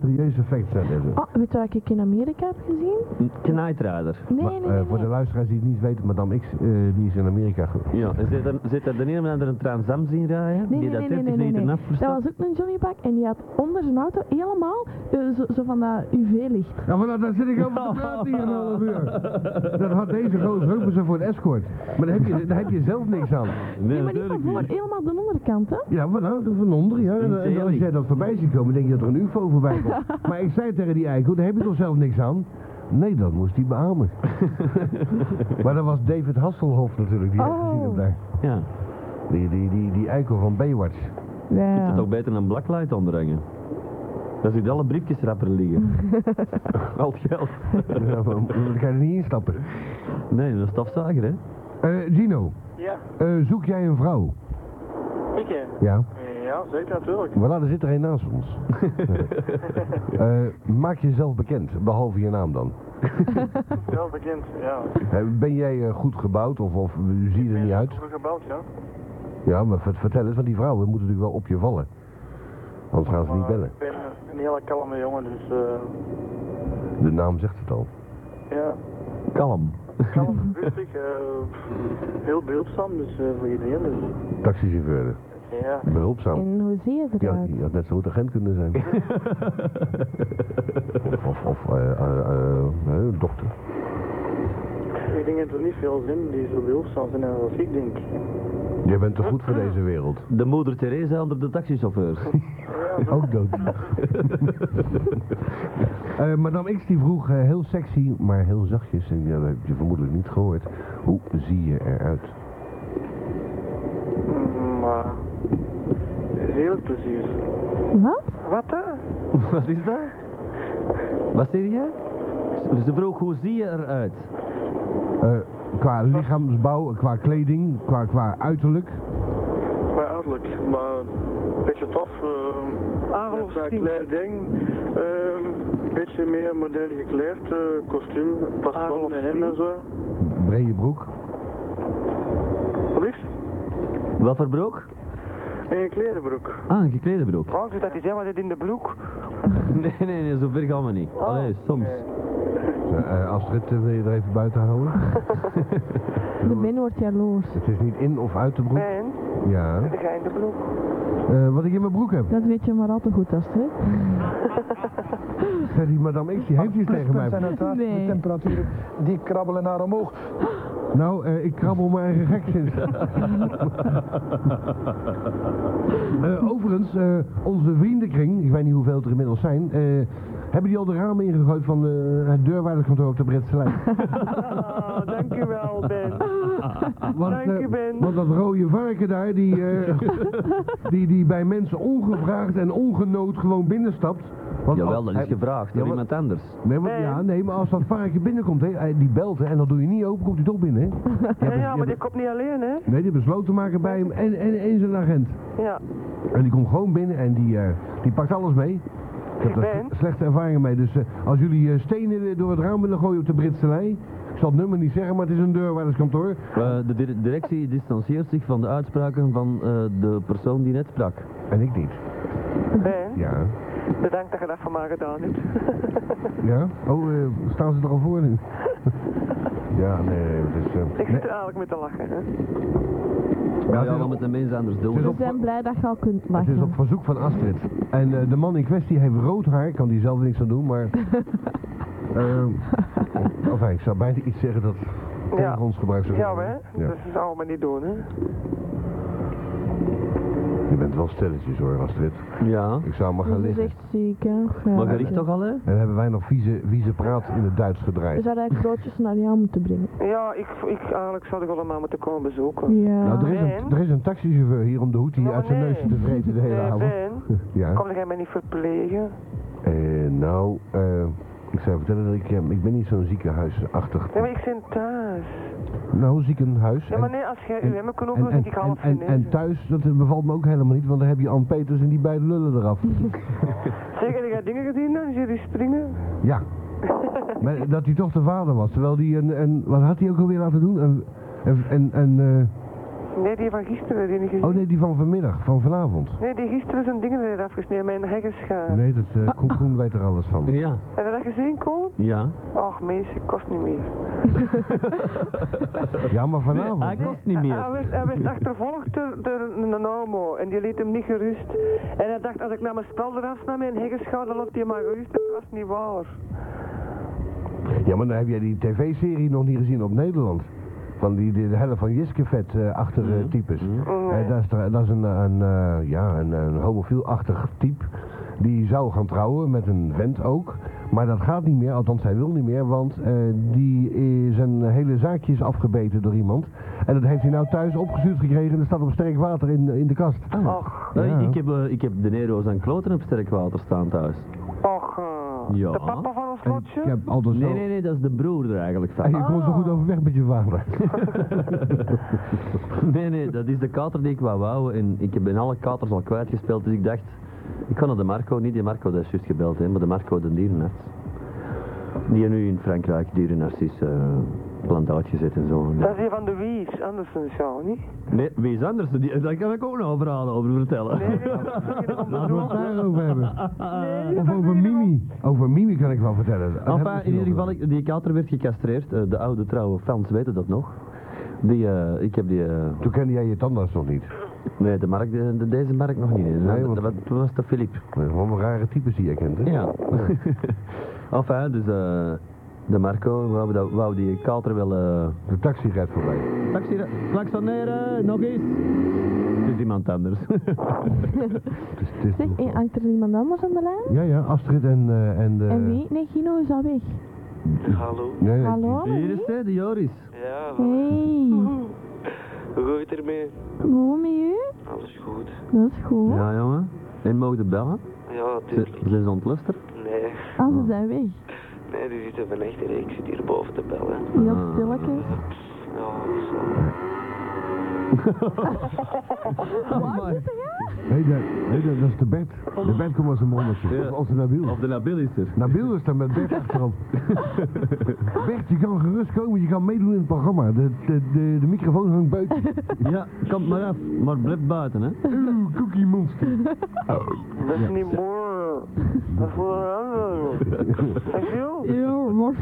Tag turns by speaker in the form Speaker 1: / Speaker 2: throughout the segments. Speaker 1: serieus effect zou hebben.
Speaker 2: Ah, weet je wat ik in Amerika heb gezien?
Speaker 3: Knight Rider.
Speaker 2: Nee,
Speaker 1: Maar,
Speaker 2: nee,
Speaker 1: eh,
Speaker 2: nee.
Speaker 1: voor de luisteraars die het niet weten, Madame X eh, die is in Amerika. ge-
Speaker 3: Ja, en zit er, zit er de een of andere een transam zien rijden?
Speaker 2: Nee,
Speaker 3: die
Speaker 2: nee,
Speaker 3: dat
Speaker 2: nee, nee,
Speaker 3: 30
Speaker 2: nee,
Speaker 3: meter
Speaker 2: nee.
Speaker 3: afverstapt?
Speaker 2: Dat was ook een Johnnypak en die had onder zijn auto helemaal eh, zo, zo van dat UV-licht.
Speaker 1: Ja, maar dan- dan zit ik over te praten hier een half uur. Dan had deze gozer ook maar zo voor het escort. Maar daar heb je, daar heb je zelf niks aan.
Speaker 2: Nee, maar niet van voor, helemaal de onderkant, hè?
Speaker 1: Ja, wat nou? Van onder, ja. En, en als jij dat voorbij ziet komen, denk je dat er een ufo voorbij komt. Maar ik zei tegen die eikel, daar heb je toch zelf niks aan? Nee, dat moest hij beamen. maar dat was David Hasselhoff natuurlijk, die
Speaker 2: Oh.
Speaker 1: heeft gezien hem daar.
Speaker 3: Ja.
Speaker 1: Die, die, die, die eikel van Baywatch.
Speaker 3: Je kunt
Speaker 2: Ja.
Speaker 3: het ook beter een blacklight onderhangen. Daar zitten alle briefjes rapper liggen. Al het geld.
Speaker 1: Ja, maar Dan kan je er niet instappen.
Speaker 3: Nee, dat is stofzuiger, hè?
Speaker 1: Eh, Gino,
Speaker 4: Ja,
Speaker 1: eh, zoek jij een vrouw?
Speaker 4: ik hè?
Speaker 1: Ja.
Speaker 4: Ja, zeker natuurlijk.
Speaker 1: Voilà, er zit er een naast ons. Eh, maak jezelf bekend, behalve je naam dan.
Speaker 4: Wel bekend, ja.
Speaker 1: Eh, ben jij eh, goed gebouwd of, of zie je er niet uit?
Speaker 4: Vroeger gebeld, ja.
Speaker 1: Ja, maar ver- vertel eens, want die vrouwen moeten natuurlijk wel op je vallen. Anders gaan ze niet
Speaker 4: Maar
Speaker 1: bellen.
Speaker 4: Ik ben eh, een hele kalme jongen, dus eh
Speaker 1: De naam zegt het al.
Speaker 4: ja.
Speaker 3: Kalm.
Speaker 4: Kalm, rustig, eh, heel behulpzaam, dus eh, voor iedereen. Dus,
Speaker 1: Taxichauffeur,
Speaker 4: ja.
Speaker 1: behulpzaam.
Speaker 2: En hoe zie je het
Speaker 1: Ja,
Speaker 2: eruit?
Speaker 1: die had net zo goed agent kunnen zijn. of of, of eh, eh, eh, eh, dokter.
Speaker 4: Ik denk dat er niet veel zin die zo behulpzaam zijn als ik denk.
Speaker 1: Jij bent te goed voor deze wereld.
Speaker 3: De moeder Theresa onder de taxichauffeur.
Speaker 1: Ook dood. Eh, Madame X die vroeg eh, heel sexy, maar heel zachtjes. En ja, dat heb je vermoedelijk niet gehoord. Hoe zie je eruit?
Speaker 4: Mm, Maar heel plezier.
Speaker 2: Wat?
Speaker 4: Wat hè?
Speaker 3: Wat is dat? Wat zeg jij? Ze- Ze vroeg, hoe zie je eruit?
Speaker 1: Eh, qua lichaamsbouw, qua kleding, qua, qua uiterlijk.
Speaker 4: Mijn uiterlijk, maar een beetje tof. Uh,
Speaker 5: Aangeloof
Speaker 4: Een
Speaker 5: tien.
Speaker 4: klein ding. ehm, Een beetje meer modern gekleed, eh, kostuum, past wel
Speaker 5: Aangeloof
Speaker 4: bij hem
Speaker 5: tien.
Speaker 4: en zo.
Speaker 1: Brede broek.
Speaker 4: Liefst
Speaker 3: Wat voor broek?
Speaker 4: in je klerenbroek.
Speaker 3: Ah, een geklede broek.
Speaker 5: Frank doet dat hij zelf altijd in de broek. Oh.
Speaker 3: Nee, nee, nee, zo ver gaan we niet. Allee, soms.
Speaker 1: Eh, eh, Astrid, eh, wil je er even buiten houden?
Speaker 2: De men wordt jaloers.
Speaker 1: Het is niet in of uit de broek.
Speaker 5: En
Speaker 1: Ja.
Speaker 5: dan ga je in de broek.
Speaker 1: Eh, wat ik in mijn broek heb.
Speaker 2: Dat weet je maar al te goed, Astrid.
Speaker 1: Zeg die madame X, die heeft iets tegen mij.
Speaker 6: zijn uiteraard
Speaker 2: Nee.
Speaker 6: de temperaturen die krabbelen naar omhoog.
Speaker 1: Nou, eh, ik krabbel mijn eigen gek sinds. Eh, overigens, eh, onze vriendenkring, ik weet niet hoeveel het er inmiddels zijn, eh, hebben die al de ramen ingegooid van de, het deurwaarderskantoor op de Britse lijn?
Speaker 5: Oh, dankjewel Ben.
Speaker 1: Want,
Speaker 5: Dank u,
Speaker 1: eh,
Speaker 5: Ben.
Speaker 1: want dat rode varken daar, die, eh, die, die bij mensen ongevraagd en ongenood gewoon binnenstapt. Want
Speaker 3: Jawel,
Speaker 1: als-
Speaker 3: dat
Speaker 1: oh, hij-
Speaker 3: is gevraagd door
Speaker 1: Ja, maar-
Speaker 3: iemand anders.
Speaker 1: Nee, want-
Speaker 5: Ben.
Speaker 1: ja, nee, maar als dat varken binnenkomt, hè, hij- die belt hè, en dat doe je niet open, komt hij toch binnen. Hè? Die
Speaker 5: Ja,
Speaker 1: hebben-
Speaker 5: ja, maar
Speaker 1: die
Speaker 5: die komt niet alleen hè.
Speaker 1: hebben- Nee, die hebben slotenmaker bij hem en, en, en zijn agent.
Speaker 5: Ja.
Speaker 1: En die komt gewoon binnen en die, eh, die pakt alles mee. Ik heb
Speaker 5: Ik
Speaker 1: daar
Speaker 5: ben.
Speaker 1: slechte ervaringen mee. Dus eh, als jullie eh, stenen door het raam willen gooien op de Britse lei. Ik zal het nummer niet zeggen, maar het is een deurwaarderskantoor.
Speaker 3: Eh, de dir- directie distancieert zich van de uitspraken van eh, de persoon die net sprak.
Speaker 1: En ik niet.
Speaker 5: Ben,
Speaker 1: Ja.
Speaker 5: bedankt dat je dat voor mij gedaan hebt.
Speaker 1: Ja? Oh, eh, staan ze er al voor nu? ja, nee, het is... eh,
Speaker 5: Ik
Speaker 1: nee,
Speaker 5: zit er eigenlijk mee te lachen hè.
Speaker 3: Ja,
Speaker 1: het is
Speaker 3: ja,
Speaker 1: op-
Speaker 3: wat de mensen anders
Speaker 1: Het is
Speaker 3: doen.
Speaker 2: We
Speaker 1: op-
Speaker 2: zijn blij dat je al kunt
Speaker 1: het is op
Speaker 2: lachen.
Speaker 1: verzoek van Astrid. En eh, de man in kwestie heeft rood haar, kan die zelf niks aan doen, maar... Ehm of ik zou bijna iets zeggen dat tegen
Speaker 5: Ja.
Speaker 1: ons gebruikt zou
Speaker 5: Ja
Speaker 1: worden.
Speaker 5: hè,
Speaker 1: Ja.
Speaker 5: dat zou maar niet doen hè.
Speaker 1: Je bent wel stilletjes hoor, Astrid.
Speaker 3: Ja.
Speaker 1: Ik zou maar gaan
Speaker 2: Dat is
Speaker 1: liggen.
Speaker 2: echt ziek, hè? Ja.
Speaker 3: Maar gericht toch al, hè?
Speaker 1: En dan hebben wij nog vieze, vieze praat in het Duits
Speaker 2: We
Speaker 1: gedraaid.
Speaker 2: zouden eigenlijk broodjes naar jou moeten brengen.
Speaker 5: Ja, ik, ik eigenlijk zou ik allemaal moeten komen bezoeken.
Speaker 2: Ja.
Speaker 1: Nou, er is, een,
Speaker 5: Ben?
Speaker 1: er is een taxichauffeur hier om de hoed die
Speaker 5: Ja,
Speaker 1: uit zijn
Speaker 5: nee.
Speaker 1: neus te vreten de hele
Speaker 5: Eh,
Speaker 1: avond.
Speaker 5: ben,
Speaker 1: Ja.
Speaker 5: kom jij mij niet verplegen?
Speaker 1: Eh, nou, eh, ik zou vertellen dat ik, eh, ik ben niet zo'n ziekenhuisachtig.
Speaker 5: Ja, maar ik zit thuis.
Speaker 1: Nou, ziekenhuis.
Speaker 5: Ja,
Speaker 1: en-
Speaker 5: maar nee, als jij
Speaker 1: en-
Speaker 5: uw hemmen kan
Speaker 1: en,
Speaker 5: opdoen,
Speaker 1: en,
Speaker 5: zit ik
Speaker 1: en,
Speaker 5: half
Speaker 1: en, en
Speaker 5: genezen.
Speaker 1: thuis, dat bevalt me ook helemaal niet, want dan heb je Ann Peters en die beide lullen eraf.
Speaker 5: Zeg, en jij dingen gezien dan? Zie je die springen?
Speaker 1: Ja. maar dat hij toch de vader was, terwijl die een, een wat had hij ook alweer laten doen? Een, een, een, een, eh,
Speaker 5: Nee, die van gisteren, die niet gezien.
Speaker 1: Oh nee, die van vanmiddag, van vanavond.
Speaker 5: Nee, die gisteren zijn dingen eraf afgesneden, mijn heggenschaar.
Speaker 1: Nee, dat eh Koen, Koen weet er alles van.
Speaker 3: Ah, Ja.
Speaker 5: Heb je dat gezien, Koen?
Speaker 3: Ja.
Speaker 5: Och, mensen, kost niet meer.
Speaker 1: Ja, Ah, maar
Speaker 3: Hij
Speaker 1: vanavond.
Speaker 3: Ah, kost niet
Speaker 5: Hij
Speaker 3: meer.
Speaker 5: werd, hij werd achtervolgd door, door een een homo en die liet hem niet gerust. En hij dacht, als ik naar mijn spel eraf nam en heggenschaar, dan loopt hij maar gerust. Dat was niet waar.
Speaker 1: Ja, maar dan heb jij die tv-serie nog niet gezien op Nederland. Van die, die de helft van Jiskevet eh achter eh,
Speaker 3: Mhm.
Speaker 1: types. Eh, dat, is, toch- dat is een, een, eh, ja, een, een homofielachtig type. Die zou gaan trouwen met een vent ook. Maar dat gaat niet meer, althans hij wil niet meer, want eh, die is zijn hele zaakje is afgebeten door iemand. En dat heeft hij nou thuis opgestuurd gekregen en dat staat op sterk water in, in de kast.
Speaker 3: Ah.
Speaker 5: Och,
Speaker 3: Nee,
Speaker 1: Ja.
Speaker 3: ik, heb, eh, ik heb de Nero's en Kloten op sterk water staan thuis.
Speaker 5: och. eh,
Speaker 3: Ja.
Speaker 5: De papa van ons
Speaker 1: En
Speaker 5: lotje?
Speaker 1: ik heb dus altijd zo...
Speaker 3: Nee, nee, nee, dat is de broer er eigenlijk
Speaker 1: En
Speaker 3: van.
Speaker 1: Nou, je kon zo goed overweg met je vader.
Speaker 3: Nee, nee, dat is de kater die ik wou wou en ik heb in alle katers al kwijtgespeeld, dus ik dacht, ik ga naar de Marco, niet die Marco dat is juist gebeld, hè, maar de Marco de dierenarts. Die nu in Frankrijk dierenarts is eh plantaatje zit en zo.
Speaker 5: Dat is die van de Wies, Andersen zo, niet?
Speaker 3: Nee, wie is anders? Die, daar kan ik ook nog verhalen over vertellen.
Speaker 5: Nee, nee, dat is niet om de
Speaker 1: Laten we het
Speaker 5: doel.
Speaker 1: daarover hebben.
Speaker 5: Nee,
Speaker 1: Of
Speaker 5: dat
Speaker 1: over
Speaker 5: is niet om-
Speaker 1: Mimi. Over Mimi kan ik wel vertellen. Dat hebben we
Speaker 3: Enfin, eh, in
Speaker 1: misschien
Speaker 3: ieder
Speaker 1: wel
Speaker 3: geval, ik- die kater werd gecastreerd. eh, de oude trouwe fans weten dat nog. Die, eh, ik heb die... eh,
Speaker 1: gedaan. Toen kende jij je tandarts nog niet.
Speaker 3: nee, de markt, de, de- deze markt nog niet. hè.
Speaker 1: Nee, want-
Speaker 3: dat, dat, toen was dat Philippe.
Speaker 1: Wat een rare types die jij kent, hè?
Speaker 3: Ja. enfin, dus eh, de Marco wou, dat, wou die kater wel... eh,
Speaker 1: De taxi rijdt voorbij.
Speaker 3: Taxi, klaksoneren, nog eens. Het is iemand anders.
Speaker 1: Het is, het is
Speaker 2: Zeg, eh, hangt er iemand anders aan de lijn?
Speaker 1: Ja, ja, Astrid en... eh, en, eh,
Speaker 2: En wie? Nee, Gino is al weg.
Speaker 7: Hallo.
Speaker 1: Nee, nee,
Speaker 2: Hallo?
Speaker 3: Hier is
Speaker 2: Marie?
Speaker 3: hij, de Joris.
Speaker 7: Ja, hoe
Speaker 2: Hey,
Speaker 7: gaat het ermee?
Speaker 2: hoe met u?
Speaker 7: Alles goed.
Speaker 2: Dat is goed.
Speaker 3: Ja, jongen. En mogen de bellen?
Speaker 7: Ja,
Speaker 3: Ze,
Speaker 7: tuurlijk.
Speaker 3: ze is ontluster.
Speaker 7: Nee,
Speaker 2: Ah, ze zijn weg.
Speaker 7: nee, die zitten van echt Ik zit hier boven te bellen.
Speaker 2: Heel stilletjes.
Speaker 7: Ja, zo.
Speaker 1: Nee, dat, nee, dat, dat is de bed. De bed komt als een monnetje.
Speaker 3: Ja.
Speaker 1: Of als een Nabil.
Speaker 3: Of de Nabil is er.
Speaker 1: Nabil is daar met Bert achterop. Bert, je kan gerust komen. Je kan meedoen in het programma. De, de, de, de microfoon hangt buiten.
Speaker 3: Ja, kom maar af. Maar blijf buiten, hè.
Speaker 1: Oeh, cookie monster.
Speaker 5: Dat is niet mooi. Dat is voor een ander. Zeg joh,
Speaker 2: Ja, maar
Speaker 5: wat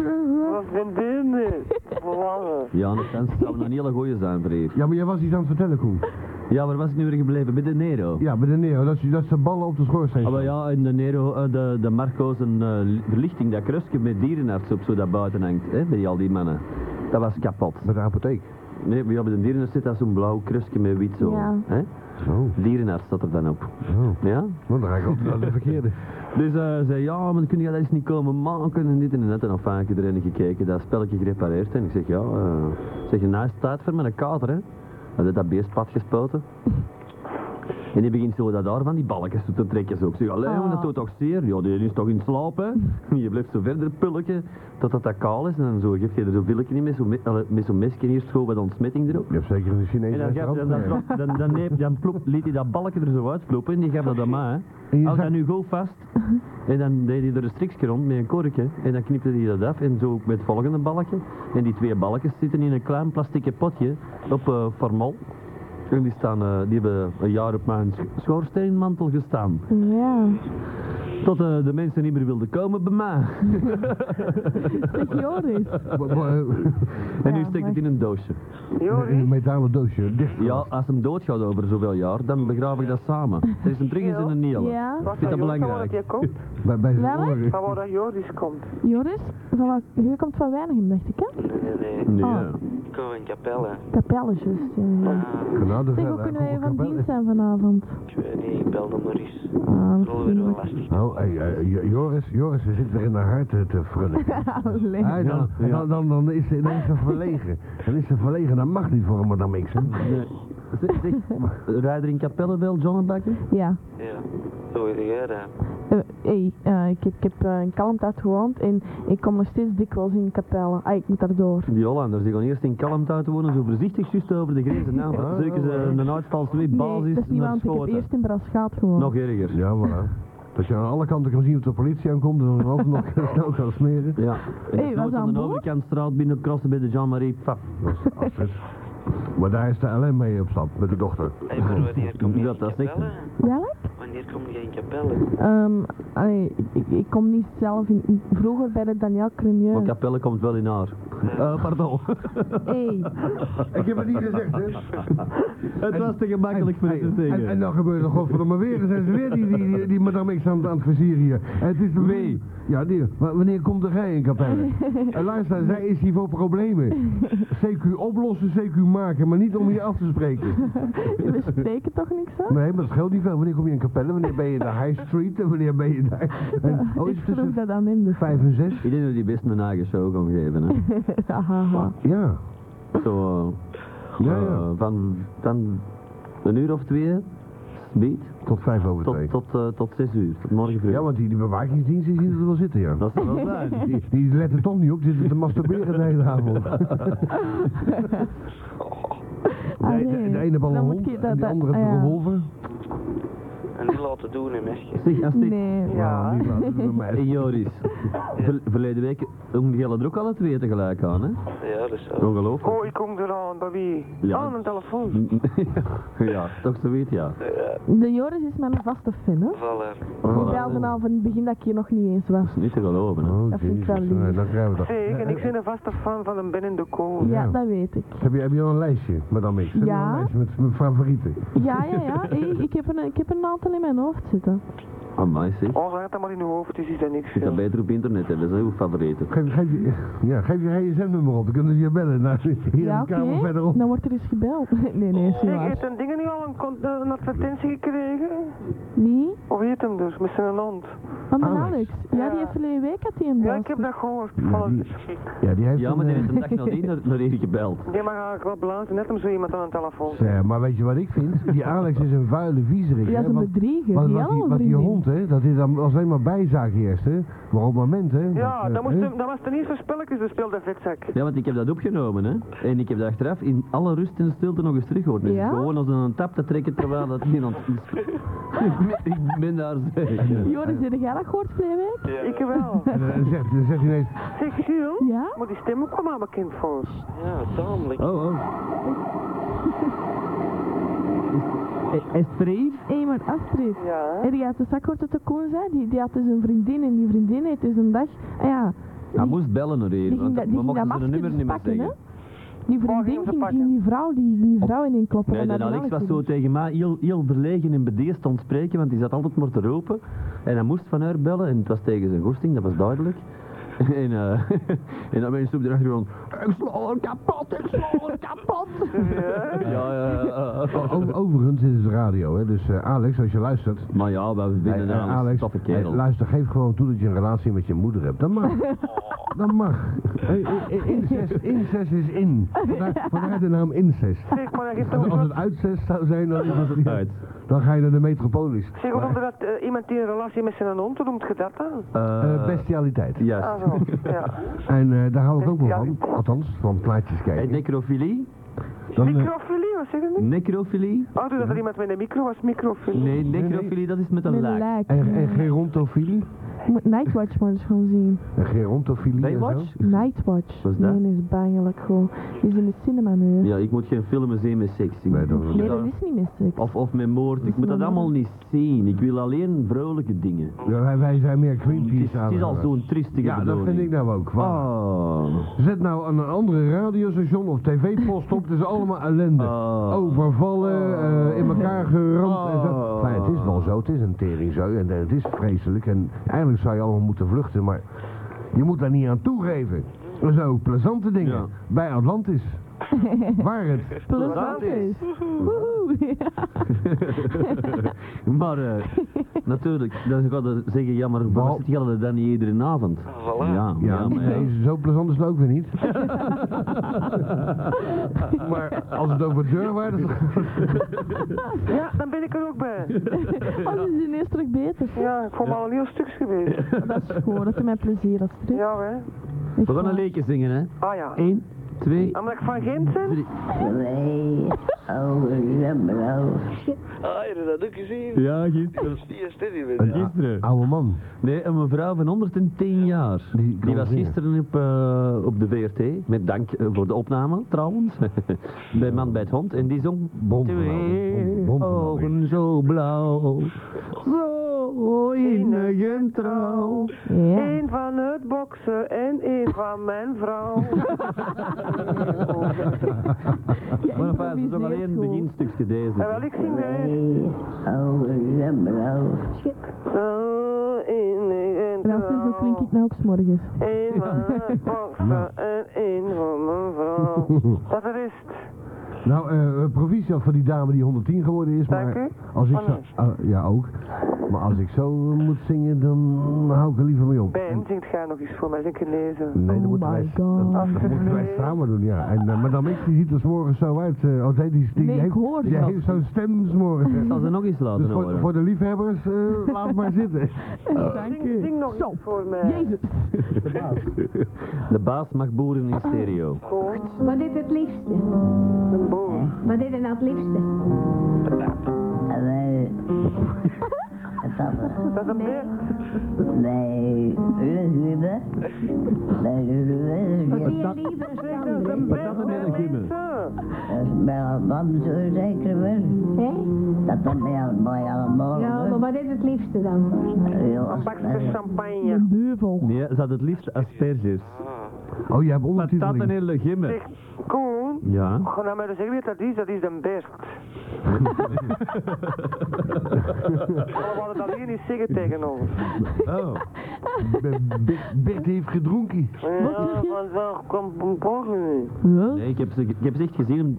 Speaker 5: zijn dit niet? Verlangen.
Speaker 3: Ja, dat kan- dat zou een hele goeie zijn, vriend.
Speaker 1: Ja, maar jij was iets aan het vertellen, Koen.
Speaker 3: Ja, waar was ik nu weer gebleven? Bij de Nero.
Speaker 1: Ja, bij de Neo. Dat is, dat is de ballen op de schoorsteen.
Speaker 3: Ah, maar ja, in de Nero, eh, de, de Marco's een eh, verlichting, dat krusje met dierenarts op zo dat buiten hangt, hè, bij al die mannen. Dat was kapot.
Speaker 1: Bij de apotheek.
Speaker 3: Nee, maar ja, bij de dierenarts zit daar zo'n blauw krusje met wit zo.
Speaker 2: Ja.
Speaker 3: Hè?
Speaker 1: Oh,
Speaker 3: Dierenarts staat er dan op.
Speaker 1: oh.
Speaker 3: Ja?
Speaker 1: Nou, dan ga ik altijd naar de verkeerde.
Speaker 3: Dus eh zei, ja, maar kun je dat eens niet komen maken en dit en dat. En of heb ik erin gekeken, dat spelletje gerepareerd. En ik zeg, ja, eh zeg, nou is het tijd voor mijn kater, hè. Hij had dat beest pad gespoten. En die begint zo dat daar van die balkjes toe te trekken. Zo. Ik zeg, allee, jongen, dat doet toch zeer? Ja, die is toch in slaap, hè? Je blijft zo verder pulken totdat dat kaal is. En dan zo, geef je er zo'n willetje in met zo'n me- allee, met zo'n mesje hier, schoon wat ontsmetting erop.
Speaker 1: Je hebt zeker een Chinese
Speaker 3: En dan, gaf, dan,
Speaker 1: restaurant.
Speaker 3: dan, dan, dan, neemt- dan plop, liet hij dat balkje er zo uitploppen en die gaf dat aan mij. hè.
Speaker 1: En je
Speaker 3: Houd dat
Speaker 1: zag-
Speaker 3: nu goed vast. En dan deed hij er een strikje rond met een korkje. En dan knipte hij dat af. En zo ook met het volgende balkje. En die twee balkjes zitten in een klein plastieke potje op eh formal. En die, staan, eh, die hebben een jaar op mijn sch- schoorsteenmantel gestaan.
Speaker 2: Ja.
Speaker 3: Tot eh, de mensen niet meer wilden komen bij mij.
Speaker 2: Zeg, Joris.
Speaker 1: Wa- wa- eh,
Speaker 3: En nu
Speaker 2: Ja,
Speaker 3: steekt het
Speaker 2: maar-
Speaker 3: in een doosje.
Speaker 1: In een
Speaker 5: Joris,
Speaker 1: metalen doosje. Dicht.
Speaker 3: Ja, als hem doodgaat over zoveel jaar, dan begraaf ik dat samen. Er is een terug en een nieuwe.
Speaker 2: Ja.
Speaker 3: Ik
Speaker 5: wat
Speaker 3: vind dat
Speaker 5: dat
Speaker 3: belangrijk.
Speaker 5: je komt?
Speaker 1: Bij, bij zijn
Speaker 2: Welk?
Speaker 1: oren.
Speaker 5: Van waar dat Joris komt.
Speaker 2: Joris, van wat, je komt van Weinigem, dacht ik, hè?
Speaker 7: Nee, nee, nee.
Speaker 3: Nee.
Speaker 2: Oh.
Speaker 7: Ik kom in Capelle.
Speaker 2: Kapelletjes. Ja.
Speaker 7: Ah,
Speaker 1: Nou, de
Speaker 2: Zeg,
Speaker 1: vella,
Speaker 2: hoe kunnen
Speaker 1: kom
Speaker 2: wij
Speaker 1: op,
Speaker 2: van
Speaker 1: kapel.
Speaker 2: dienst zijn vanavond?
Speaker 7: ik weet niet, ik bel dan maar eens. Ik
Speaker 2: Ah,
Speaker 7: wil weer wel lastig.
Speaker 1: Oh, hey, eh, Jo- Joris, Joris, ze zit weer in haar hart eh, te frunniken.
Speaker 2: Allee.
Speaker 1: Hey, dan, dan, dan, dan is ze ineens zo verlegen. Dan is ze verlegen, dan mag niet voor een madame X. hè.
Speaker 3: Nee. Zeg, zeg, rijdt er in Capelle wel Johnnenbakken?
Speaker 2: Ja.
Speaker 7: Ja. Hoe wil jij dat?
Speaker 2: Eh, hey, eh, ik heb, ik heb eh, in Kalmthout gewoond en ik kom nog steeds dikwijls in Kapellen. Ah, ik moet daardoor.
Speaker 3: Die Hollanders die gaan eerst in kalmte uit wonen, zo voorzichtig juist over de grens. En dan
Speaker 1: Ja.
Speaker 3: zeker ze een uitvalsweep
Speaker 2: Nee,
Speaker 3: basis
Speaker 2: dat is niet
Speaker 3: naar
Speaker 2: want ik heb
Speaker 3: Schoten.
Speaker 2: eerst in Braschaat gewoond.
Speaker 3: Nog erger. Ja.
Speaker 1: Ja, voilà. Dat je aan alle kanten kan zien of de politie aankomt en dan alsnog snel kan smeren.
Speaker 3: En
Speaker 2: Hey,
Speaker 3: hey,
Speaker 2: was dat
Speaker 3: aan
Speaker 2: een
Speaker 3: de
Speaker 2: boer?
Speaker 3: overkant straat binnenkrossen bij de Jean-Marie Pfaff.
Speaker 1: Dat is Astrid. Maar daar is de LM mee op stap, met de dochter.
Speaker 7: Hey, maar wanneer kom jij
Speaker 3: Dat-
Speaker 7: in
Speaker 3: dat is niks.
Speaker 7: Capelle?
Speaker 2: Welk?
Speaker 7: Wanneer kom jij in Capelle?
Speaker 2: Ehm, allee, ik, ik, ik kom niet zelf in, in- vroeger bij de Daniel Cremieux.
Speaker 3: Maar Capelle komt wel in haar. Eh, pardon.
Speaker 2: Hey,
Speaker 1: Ik heb het niet gezegd, hè?
Speaker 3: het was te gemakkelijk voor
Speaker 1: En,
Speaker 3: je te zeggen.
Speaker 1: en, en dan gebeurt er godverdomme weer. Dan zijn ze weer die, die, die, die madame X aan, het- aan het versieren hier. En het is de
Speaker 3: Wie?
Speaker 1: Ja, die. Maar wanneer komt er gij in Capelle? en luister, zij is hier voor problemen. CQ oplossen, CQ maken, maar niet om hier af te spreken.
Speaker 2: we spreken toch niks zo?
Speaker 1: Nee, maar dat scheelt niet veel. Wanneer kom je in Capelle? Wanneer ben je in de High Street? En wanneer ben je daar? En, oh, is het
Speaker 2: ik vroeg
Speaker 1: tussen
Speaker 2: dat aan hem dus.
Speaker 1: vijf en zes?
Speaker 3: Ik denk dat die best een eigen show kan geven. Hè.
Speaker 2: Hahaha.
Speaker 1: Ja.
Speaker 3: Zo, eh,
Speaker 1: Ja, ja.
Speaker 3: eh, van, van een uur of twee, beat,
Speaker 1: Tot vijf over twee.
Speaker 3: tot, tot, eh, tot zes uur, tot morgen vroeg.
Speaker 1: Ja, want die, die bewakingsdiensten zien het wel zitten, ja.
Speaker 3: Dat zou wel zijn.
Speaker 1: Die, die letten toch niet op, die zitten te masturberen de hele avond.
Speaker 2: Ah,
Speaker 1: De- de,
Speaker 2: nee.
Speaker 1: de ene bal een
Speaker 2: Dan moet
Speaker 1: hond,
Speaker 2: je dat-
Speaker 1: en de
Speaker 2: dat-
Speaker 1: andere
Speaker 2: ah,
Speaker 1: een
Speaker 2: ja.
Speaker 1: revolver.
Speaker 7: En die laten doen, hè, mesje.
Speaker 3: Zeg, als dit...
Speaker 2: Nee.
Speaker 1: Ja, Nou, die laten we maar
Speaker 3: Hey, Joris, ver- verleden week om jullie er ook alle twee tegelijk aan, hè?
Speaker 7: Ja, dat is zo.
Speaker 3: Ongelooflijk.
Speaker 5: Oh, ik kom eraan, bij wie?
Speaker 3: Ja.
Speaker 5: Aan een telefoon.
Speaker 3: ja, toch zoiets, ja.
Speaker 2: De Joris is mijn vaste fan, hè?
Speaker 7: Voilà.
Speaker 2: Die
Speaker 3: Voilà.
Speaker 2: belde al van het begin dat ik hier nog niet eens was.
Speaker 3: Niet te geloven, hè.
Speaker 1: Oh,
Speaker 2: Dat vind ik wel
Speaker 1: jezus,
Speaker 2: lief.
Speaker 1: eh, Dan krijgen we dat.
Speaker 5: Zeker, en ik ben een vaste fan van een Ben in de Kool.
Speaker 2: Ja,
Speaker 1: Ja.
Speaker 2: dat weet ik.
Speaker 1: Heb je, heb je al een lijstje, madame X? Heb je al
Speaker 2: Ja.
Speaker 1: een lijstje met mijn favorieten?
Speaker 2: Ja, ja, ja. Hey, ik, heb een, ik heb een aantal in mijn hoofd zitten.
Speaker 3: Amai, zeg.
Speaker 5: Oh, laat dat maar in uw hoofd, dus is dat niks.
Speaker 3: Je
Speaker 5: joh.
Speaker 3: kan beter op internet hebben, dat is uw favoriete.
Speaker 1: Geef, geef, je, ja, geef je gsm-nummer op, dan kunnen ze je bellen. Nou, hier
Speaker 2: ja, Nou.
Speaker 1: in de kamer verderop.
Speaker 2: Dan wordt er eens gebeld. Nee, nee, is niet
Speaker 5: Oh, Zeg, heeft
Speaker 2: waar.
Speaker 5: een ding nu al een, con- een advertentie gekregen?
Speaker 2: Wie?
Speaker 5: Of heet hem dus, met zijn hond?
Speaker 2: Van de
Speaker 1: Alex.
Speaker 2: Alex. Ja, die
Speaker 5: Ja.
Speaker 2: heeft verleden week had hij een
Speaker 5: Ja,
Speaker 2: bel.
Speaker 5: ik heb dat gehoord.
Speaker 1: Ja,
Speaker 5: Voilà.
Speaker 1: die, ja, die heeft
Speaker 3: Ja, maar die
Speaker 1: een, eh,
Speaker 3: heeft een dag nadien naar, naar hier gebeld.
Speaker 5: Die mag eigenlijk wel blazen, net hem zo iemand aan een telefoon.
Speaker 1: eh, zeg, maar weet je wat ik vind? Die Alex is een vuile viezerik.
Speaker 2: Ja,
Speaker 1: hè,
Speaker 2: zo'n
Speaker 1: want-
Speaker 2: bedrieger.
Speaker 1: Wat,
Speaker 2: die
Speaker 1: wat, die,
Speaker 2: helemaal
Speaker 1: wat die
Speaker 2: vriendin.
Speaker 1: hond, hè, dat is dan was alleen maar bijzaak eerst, hè. Maar op het moment, hè.
Speaker 5: Ja,
Speaker 1: eh,
Speaker 5: dat, moest
Speaker 1: hè,
Speaker 5: hem, dat was ten eerste spelletjes, de speelde vetzak.
Speaker 3: Ja, want ik heb dat opgenomen, hè. En ik heb dat achteraf in alle rust en stilte nog eens teruggehoord. Dus
Speaker 2: Ja?
Speaker 3: gewoon als een tap te trekken terwijl dat iemand... Ik ben- ik ben daar zeker.
Speaker 2: Joris, heb jij dat gehoord verleden week?
Speaker 7: Ja.
Speaker 5: Ik wel.
Speaker 1: En dan zegt, dan zegt hij ineens,
Speaker 5: Zeg, Jules,
Speaker 2: Ja?
Speaker 5: maar die stem kwam aan bekend voor.
Speaker 7: Ja, tamelijk.
Speaker 3: Oh, oh. Is, is het er hier?
Speaker 2: Hé, maar Astrid.
Speaker 5: Ja.
Speaker 2: En die had de zak gehoord dat de koen zei. Die, die had dus een vriendin en die vriendin heeft dus een dag... Ah ja,
Speaker 3: Hij moest bellen naar hier,
Speaker 2: die ging,
Speaker 3: want
Speaker 2: dat-
Speaker 3: we
Speaker 2: die ging dat
Speaker 3: mochten zijn
Speaker 2: masker
Speaker 3: nummer
Speaker 2: dus
Speaker 3: niet meer
Speaker 2: pakken, hè?
Speaker 3: zeggen.
Speaker 2: Die
Speaker 5: Oh,
Speaker 2: vriendin
Speaker 5: ging ze
Speaker 2: ging,
Speaker 5: pakken.
Speaker 2: ging die vrouw, die, die vrouw in een kloppen.
Speaker 3: Nee,
Speaker 2: en
Speaker 3: de
Speaker 2: dat
Speaker 3: Alex
Speaker 2: Alex
Speaker 3: was
Speaker 2: dus-
Speaker 3: zo tegen mij heel, heel verlegen en bedeesd aan het spreken, want die zat altijd maar te ropen. En hij moest van haar bellen, en het was tegen zijn goesting, dat was duidelijk. En, eh en dan ben je op de achtergrond, ik sla hem kapot, ik sla hem kapot. ja, ja, ja.
Speaker 1: o- o- overigens, dit is radio, hè. Dus eh, Alex, als je luistert...
Speaker 3: Maar ja, we
Speaker 1: Hey,
Speaker 3: vinden
Speaker 1: eh,
Speaker 3: Alex, Alex toffe
Speaker 1: hey,
Speaker 3: kerel. Oh.
Speaker 1: luister, geef gewoon toe dat je een relatie met je moeder hebt. Dat mag. Dat mag. Hey, eh, eh, incest, incest is in. Vandaar, vandaar de naam incest.
Speaker 5: Zeg, maar dat geeft toch
Speaker 1: Als als
Speaker 5: ook
Speaker 1: het uitzest zou zijn, dan, is het niet
Speaker 3: Uit.
Speaker 1: dan ga je naar de metropolis.
Speaker 5: Zeg, hoe noemde dat eh, iemand die een relatie met zijn hond doet, noemt je dat dan?
Speaker 1: Eh, bestialiteit.
Speaker 3: Juist.
Speaker 5: Ah, zo. Ja.
Speaker 1: En eh, daar hou ik ook wel van. Althans, van plaatjes
Speaker 3: En
Speaker 1: kijken.
Speaker 3: necrofilie?
Speaker 1: Dan, eh,
Speaker 5: Microfilie, wat zeg je nu?
Speaker 3: Necrofilie?
Speaker 5: Oh, doe dat er iemand met een micro was, microfilie.
Speaker 3: Nee, necrofilie, dat is met een
Speaker 2: Met een
Speaker 3: laag.
Speaker 2: lijk.
Speaker 1: en,
Speaker 2: ja.
Speaker 1: en gerontofilie?
Speaker 2: Ik moet Nightwatch maar eens gaan zien.
Speaker 1: En gerontofilie en zo?
Speaker 3: Baywatch?
Speaker 2: Nightwatch.
Speaker 3: Wat is dat?
Speaker 2: Nee, is bangelijk gewoon. Die is in de cinema nu.
Speaker 3: Ja, ik moet geen filmen zien met seks. Ik
Speaker 1: Nee, dat-
Speaker 3: ik moet
Speaker 2: nee,
Speaker 3: daar-
Speaker 2: dat is niet meer seks.
Speaker 3: of, of met moord. Ik moet dat allemaal niet zien. Ik wil alleen vrolijke dingen.
Speaker 1: Ja, wij, wij zijn meer
Speaker 3: Het is,
Speaker 1: Greenpeace aan.
Speaker 3: het is al zo'n triestige
Speaker 1: Ja, dat vind ik
Speaker 3: bedoeling.
Speaker 1: nou ook. waar.
Speaker 3: Oh.
Speaker 1: Zet nou een andere radiostation of tv-post op. Het is allemaal ellende.
Speaker 3: Oh.
Speaker 1: Overvallen, eh, in elkaar geramd en zo.
Speaker 3: Oh.
Speaker 1: Maar het is wel zo. Het is een teringzooi en eh, het is vreselijk. En eigenlijk zou je allemaal moeten vluchten, maar je moet daar niet aan toegeven. Er zijn ook plezante dingen.
Speaker 3: Ja.
Speaker 1: Bij Atlantis. Waar het.
Speaker 2: Plus
Speaker 3: dat
Speaker 2: dat
Speaker 3: is.
Speaker 2: is. Woehoe. Ja.
Speaker 3: Maar eh, natuurlijk, dan gaat er zeggen, ja, maar waar
Speaker 1: Wel-
Speaker 3: zit Jelle dan niet iedere avond?
Speaker 7: Voilà.
Speaker 3: Ja,
Speaker 1: Ja,
Speaker 3: ja, maar ja.
Speaker 1: nee, zo plezant is het ook weer niet. maar als het over deurwaarders
Speaker 5: Ja, dan ben ik er ook bij.
Speaker 2: Oh, dat is ineens terug beter.
Speaker 5: Ja, ik vond me al een heel stuk geweest.
Speaker 2: Dat is gewoon, dat doet mij plezier als terug.
Speaker 5: Ja, hè.
Speaker 3: We gaan een leekje zingen, hè.
Speaker 5: Ah ja.
Speaker 3: Eén, twee,
Speaker 5: Omdat ik van Gent ben?
Speaker 3: drie.
Speaker 8: Wij, oude Zembro.
Speaker 7: Ah, heb je dat ook gezien?
Speaker 3: Ja, gisteren.
Speaker 7: Die is dit niet meer.
Speaker 3: Gisteren.
Speaker 1: Oude man.
Speaker 3: Nee, een mevrouw van 110 jaar. Die,
Speaker 1: kan
Speaker 3: was
Speaker 1: zingen.
Speaker 3: gisteren op, eh, op de VRT, met dank eh, voor de opname trouwens, bij Man bij het Hond. En die zong
Speaker 1: Bond van
Speaker 3: Twee
Speaker 1: Bond- Bond van
Speaker 3: ogen zo blauw, zo innig en trouw.
Speaker 2: Ja.
Speaker 5: Eén van het boksen en één van mijn vrouw.
Speaker 3: Maar enfin, het is ook alleen een beginstukje
Speaker 5: en
Speaker 3: deze.
Speaker 5: wel, ik zing er.
Speaker 8: Wij, oude Zembro.
Speaker 5: Zo, één en
Speaker 2: En als is, zo klink ik nou ook s'morgens.
Speaker 5: Eén van het boksen en één van mijn vrouw. Dat er is het.
Speaker 1: Nou, eh proficiat van die dame die 110 geworden is,
Speaker 5: Dank
Speaker 1: maar
Speaker 5: u.
Speaker 1: als ik
Speaker 5: Oh,
Speaker 1: zo...
Speaker 5: nee.
Speaker 1: ah, ja, ook. Maar als ik zo eh, moet zingen, dan hou ik er liever mee op.
Speaker 5: Ben, zingt gij nog eens voor mij, ik lezen.
Speaker 1: Nee,
Speaker 2: Oh
Speaker 1: dat moeten wij,
Speaker 2: my God.
Speaker 1: dat, dat moeten wij samen doen, ja. En eh, Madame X, die ziet er s'morgens zo uit. eh, oh, nee, die, die
Speaker 2: Nee, ik
Speaker 1: heeft,
Speaker 2: hoor
Speaker 1: die
Speaker 2: dat.
Speaker 1: heeft zo'n stem s'morgens.
Speaker 3: Ik zal
Speaker 1: hè.
Speaker 3: ze nog eens laten
Speaker 1: Dus voor,
Speaker 3: horen.
Speaker 1: voor de liefhebbers, eh, laat maar zitten.
Speaker 2: Dank
Speaker 5: Zing,
Speaker 2: u.
Speaker 5: zing nog eens voor mij.
Speaker 2: Jezus.
Speaker 3: De baas mag boeren in stereo.
Speaker 5: Koort,
Speaker 9: Wat is het liefste?
Speaker 5: een boom.
Speaker 9: Wat is er nou het liefste?
Speaker 8: Wij, papa.
Speaker 5: Dat is een beer.
Speaker 8: Wij, luguber.
Speaker 9: Wat
Speaker 8: Wij, luguber.
Speaker 9: zie je liever
Speaker 5: Dat is een
Speaker 9: dan
Speaker 5: beer.
Speaker 3: met een gimmen?
Speaker 8: Dat is bij Alban zo zeker weer.
Speaker 9: Hè?
Speaker 8: Dat dan bij Alban allemaal.
Speaker 9: Ja, maar wat is het liefste dan?
Speaker 5: Een bakje
Speaker 8: Ja,
Speaker 5: champagne.
Speaker 2: Een duivel.
Speaker 3: Nee, ze had het liefst asperges.
Speaker 1: Oh, jij hebt
Speaker 3: Patat en
Speaker 1: ondertiteling.
Speaker 3: hele gimmen.
Speaker 5: Koen,
Speaker 3: Ja.
Speaker 5: ga nou maar eens zeggen wie dat is, dat is de best. We hadden dat hier niet zeggen tegen ons.
Speaker 3: Oh.
Speaker 1: B- Bert- Bert heeft gedronken.
Speaker 5: Ja, vandaag komt een borgen niet.
Speaker 2: Huh?
Speaker 3: Nee, ik heb, ze, ik heb ze echt gezien op de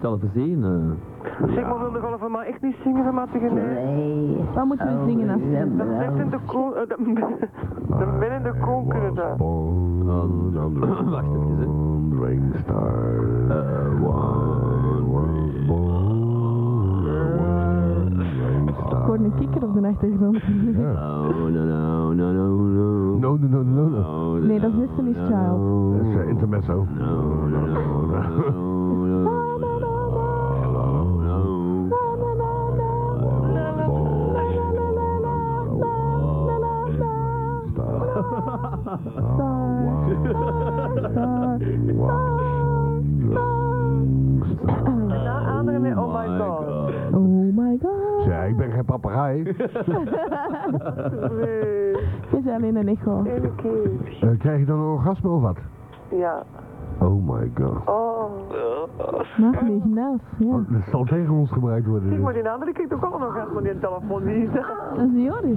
Speaker 3: televisie. eh.
Speaker 5: Zeg maar, wilde gewoon van mij echt niet zingen van mij te genezen.
Speaker 2: Wat moeten we zingen als
Speaker 5: Dat zegt in de koen, eh, de de men in de koen kunnen
Speaker 3: Eh,
Speaker 5: dat.
Speaker 3: Wacht even, hè.
Speaker 1: Wandering star. was born a wandering
Speaker 2: Ik
Speaker 1: star.
Speaker 2: hoor een kikker op de achtergrond.
Speaker 3: Oh, no, no, no, no, no.
Speaker 1: No, no, no, no, no.
Speaker 3: Oh,
Speaker 2: Nee, dat is
Speaker 3: no,
Speaker 2: Destiny's
Speaker 3: no,
Speaker 2: Child.
Speaker 3: no,
Speaker 1: Dat is eh, intermezzo.
Speaker 3: Ah, no, no, no, no, no.
Speaker 5: En dan anderen met, oh my god.
Speaker 2: Oh my god.
Speaker 1: Ja, ik ben geen papegaai.
Speaker 5: Nee,
Speaker 2: Het is alleen een echo.
Speaker 5: één keer.
Speaker 1: Eh, krijg je dan een orgasme of wat?
Speaker 5: Ja.
Speaker 1: Oh my god.
Speaker 5: Oh.
Speaker 2: Naast me, naast. Ja.
Speaker 1: Dat zal tegen ons gebruikt
Speaker 5: Kijk maar,
Speaker 1: worden. dus.
Speaker 5: die andere kijkt ook al nog uit, maar die telefoon niet.
Speaker 2: Dat is Joris.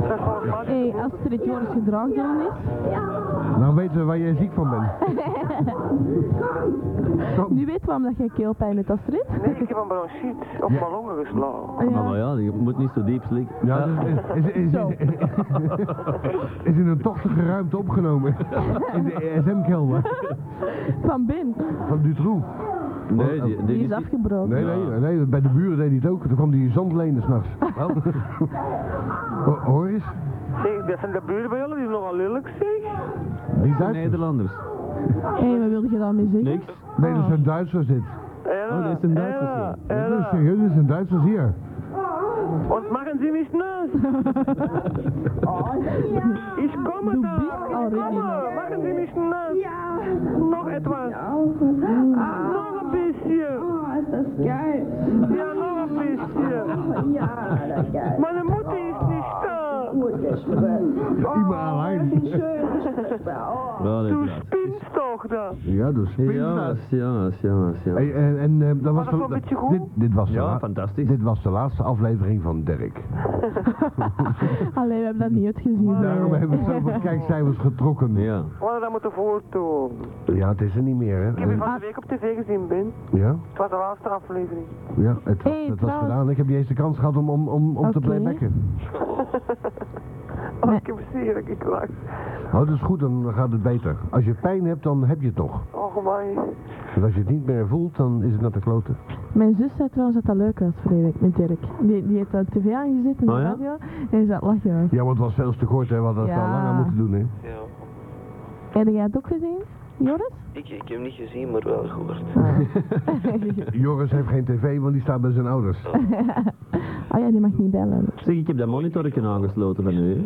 Speaker 5: Dat is volgens mij
Speaker 2: Hé, hey, als er iets Joris gedrag doen is,
Speaker 1: Nou weten we waar jij ziek van bent.
Speaker 2: nu weet waarom dat jij keelpijn hebt, Astrid.
Speaker 5: Nee, ik heb een bronchiet op mijn longen geslagen.
Speaker 2: Ah,
Speaker 3: Maar ja, je moet niet zo diep slikken. Ah,
Speaker 1: Ja, dat is, is, is,
Speaker 2: Zo.
Speaker 1: is, is in een tochtige ruimte opgenomen. In de ESM-kelder
Speaker 2: Van Ben.
Speaker 1: van Dutroux.
Speaker 3: Nee, die, die,
Speaker 2: Die is
Speaker 3: die-
Speaker 2: afgebroken.
Speaker 1: Nee, nee, nee, bij de buren deed hij het ook. Toen kwam die zandlenen s'nachts. Ho- Hoor eens,
Speaker 5: Zeg, dat zijn de buren bij jullie, die is nogal lelijk, zeg.
Speaker 1: die Duitsers.
Speaker 3: Nederlanders.
Speaker 2: Hé, wat wilde je daarmee zeggen?
Speaker 3: Niks.
Speaker 1: Nee, dat zijn Duitsers dit.
Speaker 5: Ella,
Speaker 3: Oh, dat is een Duitser,
Speaker 5: Ella,
Speaker 1: Dat is
Speaker 5: Ella.
Speaker 1: serieus, dat zijn Duitsers hier.
Speaker 5: Und machen Sie mich nass. Oh, Ich komme
Speaker 2: Du
Speaker 5: da.
Speaker 2: bist
Speaker 5: Ich
Speaker 2: original.
Speaker 5: komme. Machen Sie mich nass. Noch etwas. Noch ein bisschen. Ja, noch ein bisschen.
Speaker 8: dat ja.
Speaker 5: Meine Mutter ist niet da.
Speaker 8: Goed is. maar-
Speaker 1: Immer allein.
Speaker 3: Ja, dat is
Speaker 5: Du
Speaker 3: waar.
Speaker 5: spinnst toch da.
Speaker 1: Ja, dus
Speaker 3: Jongens, jongens, jongens, jongens.
Speaker 1: Hey, en en eh, dat was
Speaker 5: dat wel een beetje goed?
Speaker 1: dit, dit, was de
Speaker 3: Ja,
Speaker 1: la-
Speaker 3: fantastisch.
Speaker 1: dit was de laatste aflevering van Dirk.
Speaker 2: Allee, we hebben dat niet uitgezien.
Speaker 1: Daarom hebben we zoveel kijkcijfers getrokken.
Speaker 3: Ja.
Speaker 5: We hadden dat moeten voortdoen.
Speaker 1: Ja, het is er niet meer,
Speaker 5: Ik
Speaker 1: hè?
Speaker 5: heb je van de week op tv gezien, Ben.
Speaker 1: Ja,
Speaker 5: Het was de laatste aflevering.
Speaker 1: ja het was,
Speaker 2: Hey,
Speaker 1: het was
Speaker 2: trouwens.
Speaker 1: gedaan. Ik heb niet eens de kans gehad om, om, om, om te
Speaker 2: Oké.
Speaker 1: playbacken.
Speaker 5: Oh,
Speaker 2: Nee.
Speaker 5: ik heb zeer, ik lach.
Speaker 1: Oh, dat is goed, dan gaat het beter. Als je pijn hebt, dan heb je het nog.
Speaker 5: Oh, man.
Speaker 1: Want als je het niet meer voelt, dan is het naar de kloten.
Speaker 2: Mijn zus zei trouwens dat dat leuk was vorige week met Dirk. Die, die heeft de tv aangezet in de
Speaker 3: Oh ja?
Speaker 2: radio en die zat lachen.
Speaker 1: Ja, want het was veel te kort, hè. We hadden dat
Speaker 2: Ja.
Speaker 1: al langer moeten doen, hè.
Speaker 7: Ja.
Speaker 2: Heb jij het ook gezien? Joris?
Speaker 7: Ik, ik heb hem niet gezien, maar wel gehoord.
Speaker 1: Joris heeft geen tv, want die staat bij zijn ouders.
Speaker 2: Oh ja, die mag niet bellen.
Speaker 3: Zeg, ik heb dat monitorje aangesloten van u, hè?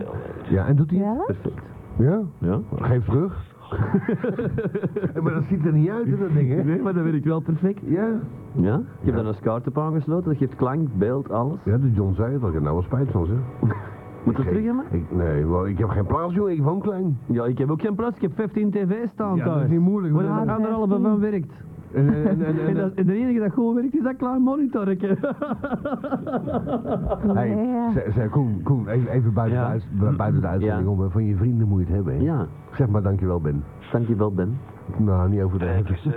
Speaker 1: Ja, en doet hij?
Speaker 2: Bellen?
Speaker 3: Perfect.
Speaker 1: Ja?
Speaker 3: Ja?
Speaker 1: Geef terug. Eh, maar dat ziet er niet uit, hè, dat ding, hè?
Speaker 3: Nee, maar dat werkt wel perfect.
Speaker 1: Ja?
Speaker 3: Ja? Ik heb dan een schuit op aangesloten, dat geeft klank, beeld, alles.
Speaker 1: Ja, de John zei het al. Ik heb nou wel spijt van, zeg.
Speaker 3: Moet dat
Speaker 1: Ik-
Speaker 3: terug hebben?
Speaker 1: ik, Nee, wel, ik heb geen plaats, jongen. Ik woon klein.
Speaker 3: Ja, ik heb ook geen plaats, ik heb 15 tv staan
Speaker 1: Ja,
Speaker 3: thuis.
Speaker 1: dat is niet moeilijk.
Speaker 3: Waar
Speaker 1: want
Speaker 3: de
Speaker 1: dat-
Speaker 3: anderhalve van werkt.
Speaker 1: En, en, en, en,
Speaker 3: En, dat, en de enige dat gewoon werkt is dat klein monitorje.
Speaker 1: Hey,
Speaker 2: Ja.
Speaker 1: zeg- zeg, Koen, Koen, even, even buiten,
Speaker 3: Ja.
Speaker 1: de uit- bu- buiten de uitzending
Speaker 3: Ja.
Speaker 1: om. hè. Van je vrienden moet je het hebben, hè?
Speaker 3: ja,
Speaker 1: Zeg maar dankjewel, Ben.
Speaker 3: dankjewel Ben.
Speaker 1: Nou, niet over de
Speaker 7: Drie kussen.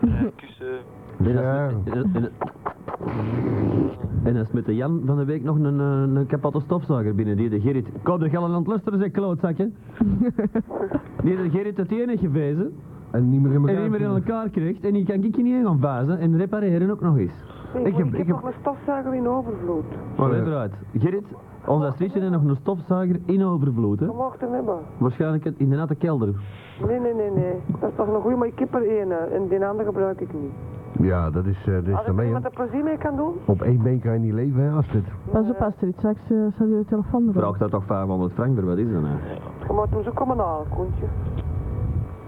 Speaker 7: Drie kussen.
Speaker 3: Nee, dat is
Speaker 1: Ja.
Speaker 3: met- en, en, en dat is met de Jan van de week nog een, eh, een kapotte stofzuiger binnen, die de Gerrit. Kom de Gelderland luisteren, zeg klootzakje. die de Gerrit het enige gewezen
Speaker 1: En niet meer in elkaar.
Speaker 3: en niet meer in
Speaker 1: zitten.
Speaker 3: elkaar krijgt en die kan ik je niet in gaan vazen en repareren ook nog eens.
Speaker 5: Nee,
Speaker 1: Ik
Speaker 5: ik,
Speaker 1: heb-
Speaker 5: heb, ik
Speaker 1: ik
Speaker 5: heb
Speaker 1: heb-
Speaker 5: nog een stofzuiger in overvloed.
Speaker 3: Maar
Speaker 1: ja.
Speaker 3: uiteraard, Gerrit, ons astrietje en nog een stofzuiger in overvloed, hè?
Speaker 5: Je mag hem hebben.
Speaker 3: Waarschijnlijk in de natte kelder.
Speaker 5: Nee, nee, nee, nee. Dat is toch een goeie, maar ik heb er één hè, en die andere gebruik ik niet.
Speaker 1: Ja, dat is, eh dat is
Speaker 5: Als
Speaker 1: dan
Speaker 5: ik
Speaker 1: mee, hè.
Speaker 5: iemand er plezier mee kan doen,
Speaker 1: Op één been kan je niet leven, hè, Astrid?
Speaker 2: Pas op, Astrid, straks eh, staat je telefoon erop.
Speaker 3: Vraag daar toch 500 frank voor, wat is dat nou?
Speaker 5: dan moet hem zo komen halen, koentje.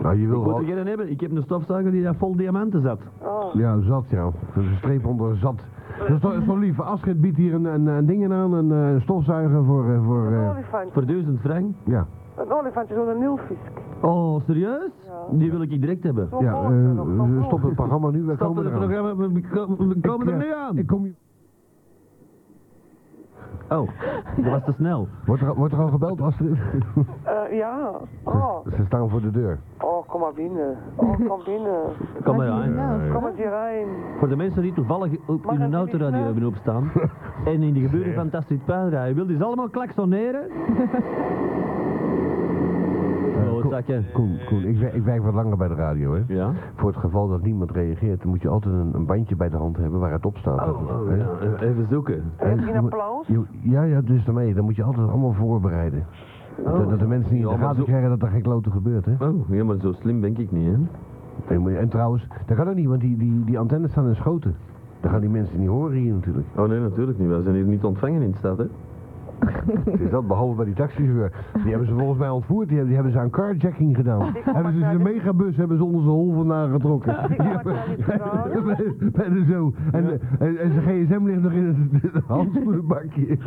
Speaker 1: Nou, je wil
Speaker 3: Ik moet
Speaker 1: wel...
Speaker 3: er geen hebben, ik heb een stofzuiger die daar vol diamanten zat.
Speaker 5: Ah,
Speaker 1: Ja, zat, ja. Dat is een streep onder zat. Dat is toch, is toch lief. Astrid biedt hier een, een, een ding aan, een, eh, een stofzuiger voor... eh, voor
Speaker 5: een
Speaker 1: eh,
Speaker 5: olifantje.
Speaker 3: Voor 1000 frank.
Speaker 5: Een olifantje, zo'n nilfisk.
Speaker 3: Oh, serieus?
Speaker 5: Ja.
Speaker 3: Die wil ik direct hebben.
Speaker 5: Zo'n
Speaker 1: ja,
Speaker 5: grote, nog van
Speaker 1: eh,
Speaker 5: groot.
Speaker 1: stop het programma nu, we
Speaker 3: Stop
Speaker 1: komen
Speaker 3: het
Speaker 1: eraan.
Speaker 3: programma, we- we komen- we komen
Speaker 1: Ik,
Speaker 3: er
Speaker 1: eh,
Speaker 3: nu aan.
Speaker 1: Ik kom hier...
Speaker 3: Oh, dat was te snel.
Speaker 1: Wordt er, wordt er al gebeld, Astrid?
Speaker 5: Eh, ja. Oh.
Speaker 1: Ze staan voor de deur.
Speaker 5: oh, kom maar binnen. Oh, kom binnen.
Speaker 3: Nou, Kom maar aan.
Speaker 5: Kom eens hierin.
Speaker 3: Voor de mensen die toevallig op
Speaker 5: nou? Mag
Speaker 3: hun
Speaker 5: ik nou?
Speaker 3: autoradio
Speaker 5: even-
Speaker 3: hebben opstaan en in de geburen van Tastrid Puin rijden, wil die ze allemaal klaksoneren? Klootzakken.
Speaker 1: Koen, Koen, ik, wer- ik werk wat langer bij de radio, hè.
Speaker 3: Ja?
Speaker 1: Voor het geval dat niemand reageert, dan moet je altijd een, een bandje bij de hand hebben waar het op staat. Hè?
Speaker 3: Oh, ja. Even zoeken.
Speaker 5: Heb je een applaus?
Speaker 1: Je- Ja, ja, dus daarmee. Dan moet je altijd allemaal voorbereiden.
Speaker 3: Oh.
Speaker 1: Dat, dat de mensen niet in
Speaker 3: Ja,
Speaker 1: de
Speaker 3: maar
Speaker 1: gaten
Speaker 3: zo-
Speaker 1: krijgen dat er geen klote gebeurt, hè.
Speaker 3: Oh, ja, maar zo slim denk ik niet, hè?
Speaker 1: En, moet je- en trouwens, dat kan ook niet, want die, die, die antennes staan in schoten. Dan gaan die mensen niet horen hier natuurlijk.
Speaker 3: Oh nee, natuurlijk niet. Wij zijn hier niet ontvangen in de stad, hè?
Speaker 1: Het is dat, behalve bij die taxichauffeur. Die hebben ze volgens mij ontvoerd, die hebben, die hebben ze aan carjacking gedaan. Hebben ze
Speaker 5: naar
Speaker 1: de
Speaker 5: de-
Speaker 1: megabus hebben ze onder zijn hol vandaan getrokken.
Speaker 5: Ik kom maar naar dit verhaal.
Speaker 1: Met- Met een zo. En, en, en zijn gsm ligt nog in het handschoenenbakje.